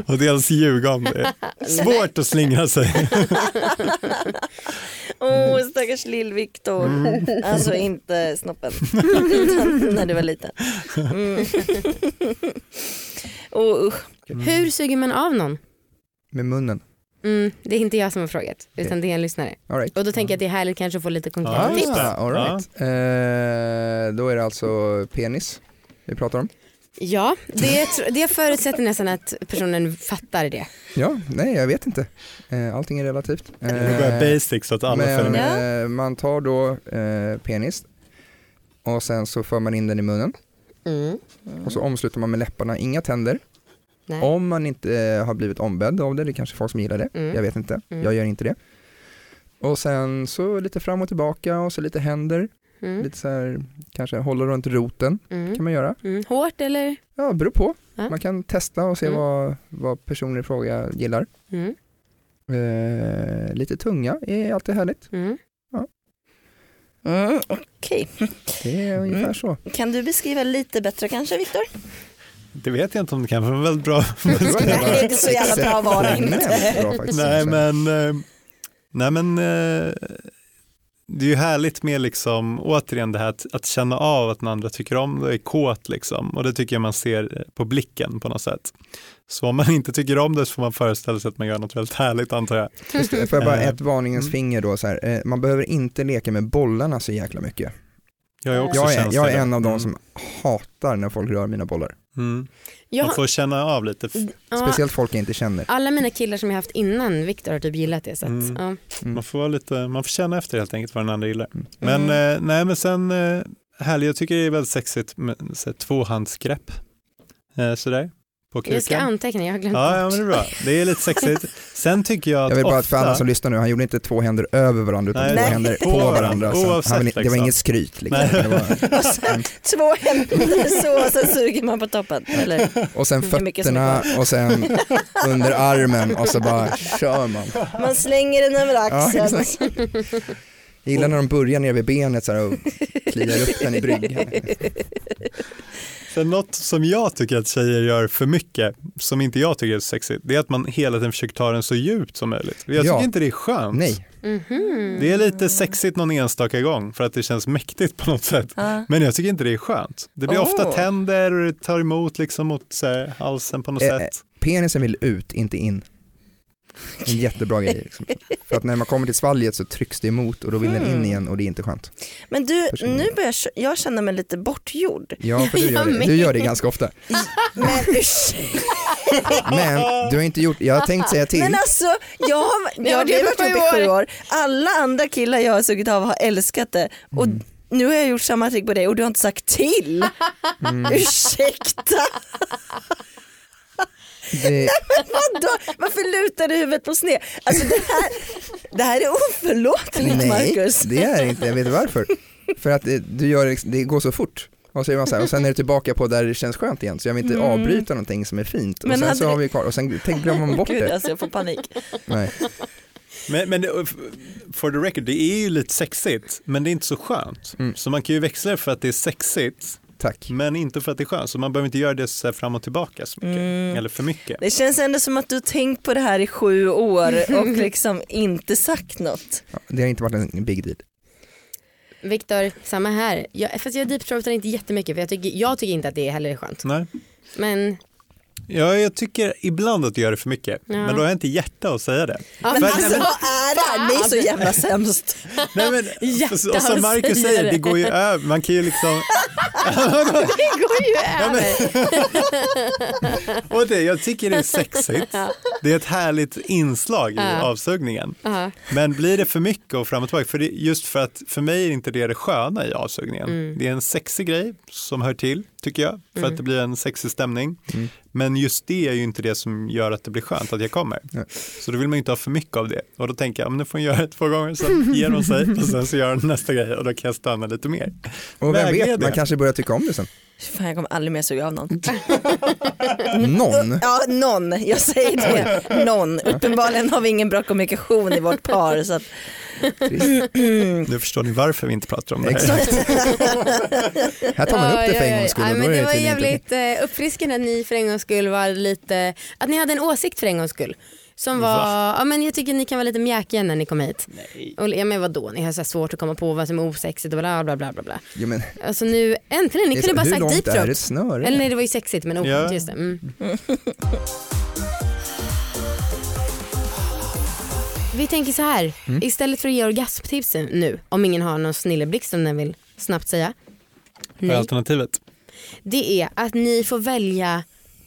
[SPEAKER 5] och dels ljuga om det. Svårt att slingra sig.
[SPEAKER 4] *laughs* Åh oh, stackars lill-Viktor.
[SPEAKER 3] Mm.
[SPEAKER 4] Alltså
[SPEAKER 3] *laughs*
[SPEAKER 4] inte snoppen. Utan när du var liten. Mm. *laughs* Åh, usch.
[SPEAKER 2] Hur suger man av någon?
[SPEAKER 3] Med munnen.
[SPEAKER 2] Mm, det är inte jag som har frågat utan det är en lyssnare.
[SPEAKER 3] All right.
[SPEAKER 2] Och då tänker jag att det är härligt kanske att få lite konkreta
[SPEAKER 5] Ja,
[SPEAKER 2] tips.
[SPEAKER 5] just det.
[SPEAKER 3] all right. Eh, då är det alltså penis vi pratar om.
[SPEAKER 2] Ja, det, tr- det förutsätter nästan att personen fattar det.
[SPEAKER 3] Ja, nej jag vet inte. Eh, allting är relativt.
[SPEAKER 5] Nu går jag basic så att alla följer
[SPEAKER 3] Eh, Men
[SPEAKER 5] med.
[SPEAKER 4] med.
[SPEAKER 3] eh, man tar då eh, penis och sen så för man in den i munnen
[SPEAKER 2] Mm.
[SPEAKER 3] och så omsluter man med läpparna, inga tänder.
[SPEAKER 2] Nej.
[SPEAKER 3] Om man inte eh, har blivit ombedd av det, det är kanske folk som gillar det,
[SPEAKER 2] Mm.
[SPEAKER 3] jag vet inte,
[SPEAKER 2] Mm.
[SPEAKER 3] jag gör inte det. Och sen så lite fram och tillbaka och så lite händer,
[SPEAKER 2] Mm.
[SPEAKER 3] lite så här, kanske hålla runt roten kan
[SPEAKER 2] Mm.
[SPEAKER 3] man göra.
[SPEAKER 2] Mm. Hårt eller?
[SPEAKER 3] Ja, beror på.
[SPEAKER 2] Ja.
[SPEAKER 3] Man kan testa och se
[SPEAKER 2] Mm.
[SPEAKER 3] vad, vad personen i fråga gillar.
[SPEAKER 2] Mm.
[SPEAKER 3] Eh, lite tunga är alltid härligt.
[SPEAKER 2] Mm.
[SPEAKER 5] *laughs*
[SPEAKER 4] Mm, Okej,
[SPEAKER 3] Det
[SPEAKER 5] Mm.
[SPEAKER 3] är ungefär så.
[SPEAKER 4] kan du beskriva lite bättre kanske Viktor?
[SPEAKER 5] Det vet jag inte om det kan vara en väldigt bra.
[SPEAKER 4] Nej, inte så jävla bra var det inte.
[SPEAKER 3] Exceptionellt bra faktiskt.
[SPEAKER 5] nej men, eh, nej men eh, det är ju härligt med liksom återigen det här att, att känna av att den andra tycker om det är kåt liksom och det tycker jag man ser på blicken på något sätt. Så om man inte tycker om det så får man föreställa sig att man gör något väldigt härligt antar jag.
[SPEAKER 3] Just det, Får jag bara
[SPEAKER 5] Eh,
[SPEAKER 3] ett varningens
[SPEAKER 5] mm.
[SPEAKER 3] finger då så här. Eh, Man behöver inte leka med bollarna så jäkla mycket.
[SPEAKER 5] Jag är, också
[SPEAKER 3] Jag är, jag
[SPEAKER 5] känslig.
[SPEAKER 3] är en av de
[SPEAKER 5] Mm.
[SPEAKER 3] som hatar när folk rör mina bollar.
[SPEAKER 5] Mm.
[SPEAKER 2] Jag
[SPEAKER 5] Man
[SPEAKER 2] har,
[SPEAKER 5] får känna av lite. f-
[SPEAKER 2] ja,
[SPEAKER 3] Speciellt folk jag inte känner.
[SPEAKER 4] Ah.
[SPEAKER 2] alla mina killar som jag haft innan Viktor har typ gillat det. Så att,
[SPEAKER 5] Mm.
[SPEAKER 2] ja.
[SPEAKER 5] Man får, vara lite, man får känna efter helt enkelt vad den andra gillar.
[SPEAKER 3] Mm.
[SPEAKER 5] Men, eh, nej, men sen, eh, härligt, jag tycker det är väldigt sexigt med så här, tvåhandsgrepp. Eh, sådär, på kuken.
[SPEAKER 2] Jag ska anteckna, jag har glömt
[SPEAKER 5] Ja, ja,
[SPEAKER 2] bort.
[SPEAKER 5] men det är bra. Det är
[SPEAKER 2] *laughs*
[SPEAKER 5] lite sexigt. Sen tycker jag att
[SPEAKER 3] Jag vill bara att
[SPEAKER 5] ofta,
[SPEAKER 3] för alla som lyssnar nu, han gjorde inte två händer över varandra utan
[SPEAKER 5] Nej.
[SPEAKER 3] två
[SPEAKER 4] Nej. *laughs*
[SPEAKER 3] händer
[SPEAKER 5] På
[SPEAKER 3] på
[SPEAKER 5] varandra,
[SPEAKER 3] varandra. Så
[SPEAKER 5] oavsett
[SPEAKER 3] han vill, det var
[SPEAKER 5] liksom.
[SPEAKER 3] inget skryt liksom.
[SPEAKER 5] Nej.
[SPEAKER 3] Det
[SPEAKER 5] *laughs*
[SPEAKER 3] var,
[SPEAKER 4] Och sen, två händer *laughs* så och sen suger man på toppen. Eller?
[SPEAKER 3] och sen
[SPEAKER 4] Det är mycket
[SPEAKER 3] fötterna och sen under armen och så bara kör man.
[SPEAKER 4] Man slänger den över
[SPEAKER 3] Ja,
[SPEAKER 4] axeln.
[SPEAKER 3] exakt. Jag gillar när de börjar nere vid benet så här, och kliar upp den i bryggan.
[SPEAKER 5] *laughs* sen något som jag tycker att tjejer gör för mycket, som inte jag tycker är så sexigt, det är att man hela tiden försöker ta den så djupt som möjligt. Jag
[SPEAKER 3] Ja.
[SPEAKER 5] tycker inte det är skönt.
[SPEAKER 3] Nej,
[SPEAKER 5] Det är lite sexigt någon enstaka gång för att det känns mäktigt på något sätt.
[SPEAKER 4] Ja.
[SPEAKER 5] Men jag tycker inte det är skönt. Det blir
[SPEAKER 4] Åh.
[SPEAKER 5] ofta tänder och det tar emot liksom mot så här, halsen på något
[SPEAKER 3] Eh,
[SPEAKER 5] sätt.
[SPEAKER 3] penisen vill ut, inte in. En jättebra grej. Liksom. För att när man kommer till svalget så trycks det emot och då vill den in
[SPEAKER 4] Mm.
[SPEAKER 3] igen och det är inte skönt.
[SPEAKER 4] Men du,
[SPEAKER 3] Personligen.
[SPEAKER 4] nu börjar jag- jag känna mig lite bortgjord.
[SPEAKER 3] Ja,
[SPEAKER 4] *laughs*
[SPEAKER 3] för du
[SPEAKER 2] Jag
[SPEAKER 3] gör det,
[SPEAKER 2] med.
[SPEAKER 3] du gör det ganska ofta.
[SPEAKER 4] Men ursäkta,
[SPEAKER 3] Men du har inte gjort, jag har tänkt säga till.
[SPEAKER 4] men alltså jag har, jag har
[SPEAKER 2] det är
[SPEAKER 4] levat
[SPEAKER 2] sju
[SPEAKER 4] ihop i sju
[SPEAKER 2] år.
[SPEAKER 4] år. Alla andra killar jag har sugit av har älskat det. Och nu har jag gjort samma trick på dig och du har inte sagt till. Ursäkta, *laughs*
[SPEAKER 3] Det,
[SPEAKER 4] vadå? Varför lutar du huvudet på sned? Alltså det här, det här är oförlåtligt
[SPEAKER 3] nej,
[SPEAKER 4] Marcus.
[SPEAKER 3] det är det inte, jag vet varför. För att det, du gör, det- det går så fort. Och, så är man så här, och sen är det tillbaka på där det känns skönt igen, så jag vill inte avbryta någonting som är fint. Och
[SPEAKER 4] Mm. Men
[SPEAKER 3] sen
[SPEAKER 4] hade
[SPEAKER 3] så har
[SPEAKER 4] det-
[SPEAKER 3] vi kvar, och sen tänk, glömmer
[SPEAKER 4] *laughs*
[SPEAKER 3] man bort
[SPEAKER 4] Gud
[SPEAKER 3] det.
[SPEAKER 4] alltså jag får panik.
[SPEAKER 3] Nej.
[SPEAKER 5] Men, men det- for the record, det är ju lite sexigt, men det är inte så skönt.
[SPEAKER 3] Mm.
[SPEAKER 5] Så man kan ju växla det för att det är sexigt,
[SPEAKER 3] Tack.
[SPEAKER 5] men inte för att det är skönt. Så man behöver inte göra det så här fram och tillbaka så mycket,
[SPEAKER 2] Mm.
[SPEAKER 5] eller för mycket.
[SPEAKER 4] Det känns ändå som att du har tänkt på det här i sju år *laughs* och liksom inte sagt något.
[SPEAKER 3] Ja, det har inte varit en big deal.
[SPEAKER 2] *laughs* Viktor, samma här. Jag, fast jag deepthroatar inte jättemycket för jag tycker, jag tycker inte att det heller är skönt.
[SPEAKER 5] Nej.
[SPEAKER 2] Men,
[SPEAKER 5] Ja, jag tycker ibland att du gör det för mycket,
[SPEAKER 2] Ja.
[SPEAKER 5] men då har jag inte hjärta att säga det.
[SPEAKER 2] ja,
[SPEAKER 4] Men
[SPEAKER 5] För-
[SPEAKER 4] alltså
[SPEAKER 5] nej,
[SPEAKER 4] vad är det här? Ni är så jävla sämst.
[SPEAKER 5] Nej, men,
[SPEAKER 2] Hjärta
[SPEAKER 5] och som
[SPEAKER 2] att säga
[SPEAKER 5] Marcus säger,
[SPEAKER 2] det.
[SPEAKER 5] det går ju över, man kan ju liksom
[SPEAKER 2] *laughs* det går ju över.
[SPEAKER 5] *laughs* Och det, jag tycker det är sexigt. Det är ett härligt inslag i
[SPEAKER 2] Ja.
[SPEAKER 5] avsugningen.
[SPEAKER 2] Ja.
[SPEAKER 5] Men blir det för mycket och fram och tillbaka, för det, just för att för mig är inte det det sköna i avsugningen.
[SPEAKER 2] Mm.
[SPEAKER 5] Det är en sexig grej som hör till, tycker jag, för att det blir en sexig stämning.
[SPEAKER 3] Mm.
[SPEAKER 5] Men just det är ju inte det som gör att det blir skönt att jag kommer.
[SPEAKER 3] Nej.
[SPEAKER 5] Så då vill man ju inte ha för mycket av det. Och då tänker jag, men nu får hon göra det två gånger, sen ger hon sig och sen så gör hon nästa grej och då kan jag stanna lite mer.
[SPEAKER 3] Och vem vet,
[SPEAKER 5] Vägledning.
[SPEAKER 3] man kanske börjar tycka om det sen.
[SPEAKER 4] Fan jag kommer aldrig mer suga av någon.
[SPEAKER 2] Mm.
[SPEAKER 3] Någon.
[SPEAKER 4] Ja någon, jag säger det. Någon. Uppenbarligen har vi ingen bra kommunikation i vårt par. Så att,
[SPEAKER 3] Trist.
[SPEAKER 5] Nu förstår ni varför vi inte pratar om det här.
[SPEAKER 3] Exakt. Här tar man upp det för en gångs skull.
[SPEAKER 2] Ja,
[SPEAKER 3] och då
[SPEAKER 2] men
[SPEAKER 3] är
[SPEAKER 2] det
[SPEAKER 3] det
[SPEAKER 2] var
[SPEAKER 3] tydligen inte okej.
[SPEAKER 2] jävligt eh, uppfriskande att ni för en gångs skull var lite, att ni hade en åsikt för en gångs skull. Som var,
[SPEAKER 5] Va?
[SPEAKER 2] ja men jag tycker ni kan vara lite mjäkiga när ni kom hit. Nej. Och, ja men vadå, ni har så här svårt att komma på vad som är osexigt och bla bla bla bla. bla.
[SPEAKER 3] Jo, men,
[SPEAKER 2] Alltså nu, äntligen,
[SPEAKER 3] det
[SPEAKER 2] ni
[SPEAKER 3] är så-
[SPEAKER 2] kunde bara
[SPEAKER 3] hur
[SPEAKER 2] sagt deep
[SPEAKER 3] långt är
[SPEAKER 2] throat.
[SPEAKER 3] ett snöre?
[SPEAKER 2] Eller nej det var ju sexigt men oskönt,
[SPEAKER 5] Ja.
[SPEAKER 2] just det. Mm. Vi tänker så här,
[SPEAKER 3] Mm.
[SPEAKER 2] istället för att ge orgasmtips nu, om ingen har någon snilleblixt som den vill snabbt säga.
[SPEAKER 5] Vad är
[SPEAKER 2] Nej,
[SPEAKER 5] alternativet?
[SPEAKER 2] det är att ni får välja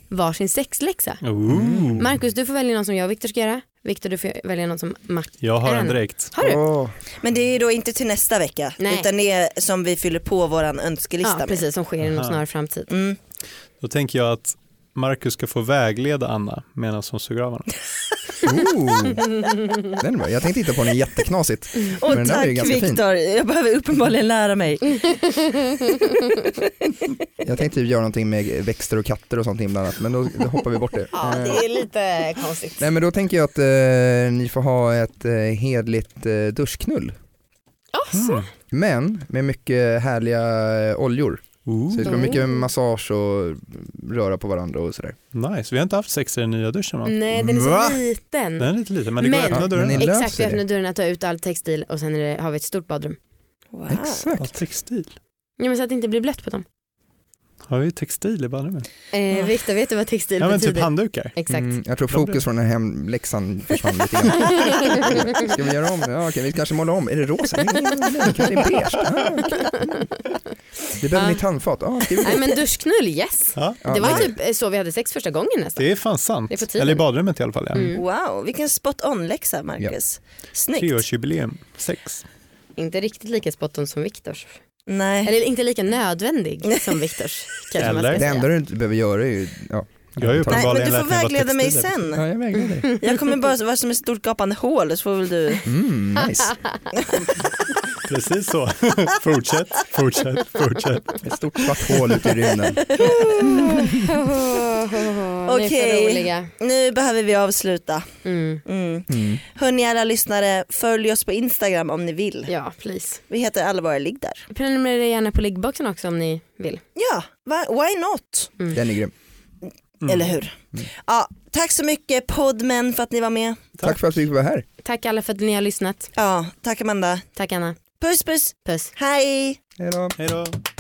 [SPEAKER 2] varsin sexläxa.
[SPEAKER 5] Mm. Ooh.
[SPEAKER 2] Marcus du får välja någon som jag och Viktor ska göra. Viktor du får välja någon som Mac.
[SPEAKER 5] Jag har en
[SPEAKER 2] Än.
[SPEAKER 5] direkt.
[SPEAKER 2] Har du?
[SPEAKER 3] Åh,
[SPEAKER 4] men det är ju då inte till nästa vecka
[SPEAKER 2] Nej.
[SPEAKER 4] utan det är som vi fyller på våran önskelista
[SPEAKER 2] Ja precis som sker inom
[SPEAKER 5] Aha.
[SPEAKER 2] snar framtid.
[SPEAKER 4] med. Mm.
[SPEAKER 5] Då tänker jag att Marcus ska få vägleda Anna medan hon suger av honom.
[SPEAKER 3] ooh. Den är bra. Jag tänkte hitta på den jätteknasigt.
[SPEAKER 4] Och
[SPEAKER 3] den där är ju
[SPEAKER 4] tack
[SPEAKER 3] ganska fin.
[SPEAKER 4] Viktor, jag behöver uppenbarligen lära mig.
[SPEAKER 3] Jag tänkte typ göra någonting med växter och katter och sånt inblandat men då, då hoppar vi bort det.
[SPEAKER 2] Ja
[SPEAKER 3] Eh,
[SPEAKER 2] det är *laughs* lite konstigt.
[SPEAKER 3] Nej men då tänker jag att eh, ni får ha ett eh, hedligt eh, duschknull.
[SPEAKER 5] Mm.
[SPEAKER 2] Alltså.
[SPEAKER 3] Men med mycket härliga eh, oljor. Så det ska vara mycket
[SPEAKER 2] Mm.
[SPEAKER 3] massage och röra på varandra och sådär.
[SPEAKER 5] Nice, vi har inte haft sex i den nya duschen va?
[SPEAKER 2] Nej den är så
[SPEAKER 5] Va?
[SPEAKER 2] liten.
[SPEAKER 5] Den är lite liten, men det går
[SPEAKER 2] Men-
[SPEAKER 5] att öppna
[SPEAKER 3] Ja,
[SPEAKER 5] dörren.
[SPEAKER 3] men ni-
[SPEAKER 2] Exakt,
[SPEAKER 3] löser
[SPEAKER 2] vi
[SPEAKER 3] det.
[SPEAKER 2] öppnar dörrarna, tar ut all textil och sen är det, har vi ett stort badrum.
[SPEAKER 4] Wow.
[SPEAKER 5] Ja,
[SPEAKER 3] Exakt.
[SPEAKER 5] textil.
[SPEAKER 2] Ja, men så att det inte blir blött på dem.
[SPEAKER 5] Har vi textil i badrummet?
[SPEAKER 2] Eh, Viktor, vet du vad textil
[SPEAKER 5] Ja men
[SPEAKER 2] betyder?
[SPEAKER 5] typ handdukar.
[SPEAKER 2] Exakt.
[SPEAKER 3] Mm, jag tror fokus från den här hemläxan försvann lite
[SPEAKER 2] *laughs*
[SPEAKER 3] grann. Ska vi göra om det? Ja, okej, vi kanske målar om. Är det rosa? Nej, nej, nej, det kanske är beige. Ah, okej. Vi behöver
[SPEAKER 2] Ja.
[SPEAKER 3] nytt handfat. Ah, skriv
[SPEAKER 2] *laughs* Nej
[SPEAKER 3] det.
[SPEAKER 2] men duschknull, yes.
[SPEAKER 5] Ja,
[SPEAKER 3] Ja,
[SPEAKER 2] Det var
[SPEAKER 3] nej.
[SPEAKER 2] ju typ eh, så vi hade sex första gången nästan.
[SPEAKER 5] det är fan sant.
[SPEAKER 2] Det är på tiden.
[SPEAKER 5] Eller i badrummet i alla fall. Ja.
[SPEAKER 2] Mm.
[SPEAKER 4] wow, vilken spot on läxa Marcus. Snyggt.
[SPEAKER 5] Treårsjubileum, sex.
[SPEAKER 2] Inte riktigt lika spot on som Viktors.
[SPEAKER 4] Nej.
[SPEAKER 2] Eller inte lika nödvändig som Viktors. kanske man
[SPEAKER 5] Eller?
[SPEAKER 2] ska
[SPEAKER 3] Det
[SPEAKER 2] säga.
[SPEAKER 3] enda du inte behöver göra är ju... Ja,
[SPEAKER 5] Jag är ju på
[SPEAKER 4] Nej, men
[SPEAKER 5] Uppenbarligen
[SPEAKER 4] du får
[SPEAKER 5] lät det vara
[SPEAKER 4] vägleda mig
[SPEAKER 5] textiler.
[SPEAKER 4] sen.
[SPEAKER 3] ja jag vägleder dig.
[SPEAKER 4] Jag kommer bara vara som ett stort gapande hål så får väl du.
[SPEAKER 3] Mm,
[SPEAKER 2] *laughs*
[SPEAKER 3] nice.
[SPEAKER 5] Precis så. *laughs* fortsätt, fortsätt, fortsätt.
[SPEAKER 3] Ett stort svart hål ute i rymden.
[SPEAKER 2] Ni är för
[SPEAKER 4] Okej.
[SPEAKER 2] roliga.
[SPEAKER 4] Nu behöver vi avsluta.
[SPEAKER 2] Mm.
[SPEAKER 4] Mm.
[SPEAKER 3] Mm.
[SPEAKER 4] Hörni alla lyssnare, följ oss på Instagram om ni vill.
[SPEAKER 2] Ja, please.
[SPEAKER 4] Vi heter Alla våra ligg där.
[SPEAKER 2] Prenumerera gärna på liggboxen också om ni vill.
[SPEAKER 4] Ja, va- why not?
[SPEAKER 3] Den är grym.
[SPEAKER 5] Mm.
[SPEAKER 4] Eller hur? Ja, tack så mycket poddmän för att ni var med.
[SPEAKER 3] Tack, för att vi fick vara här.
[SPEAKER 2] Tack alla för att ni har lyssnat.
[SPEAKER 4] Ja, tack Amanda.
[SPEAKER 2] Tack Anna.
[SPEAKER 4] Puss puss,
[SPEAKER 2] Puss.
[SPEAKER 4] hej!
[SPEAKER 3] Hej då.
[SPEAKER 5] Hej då.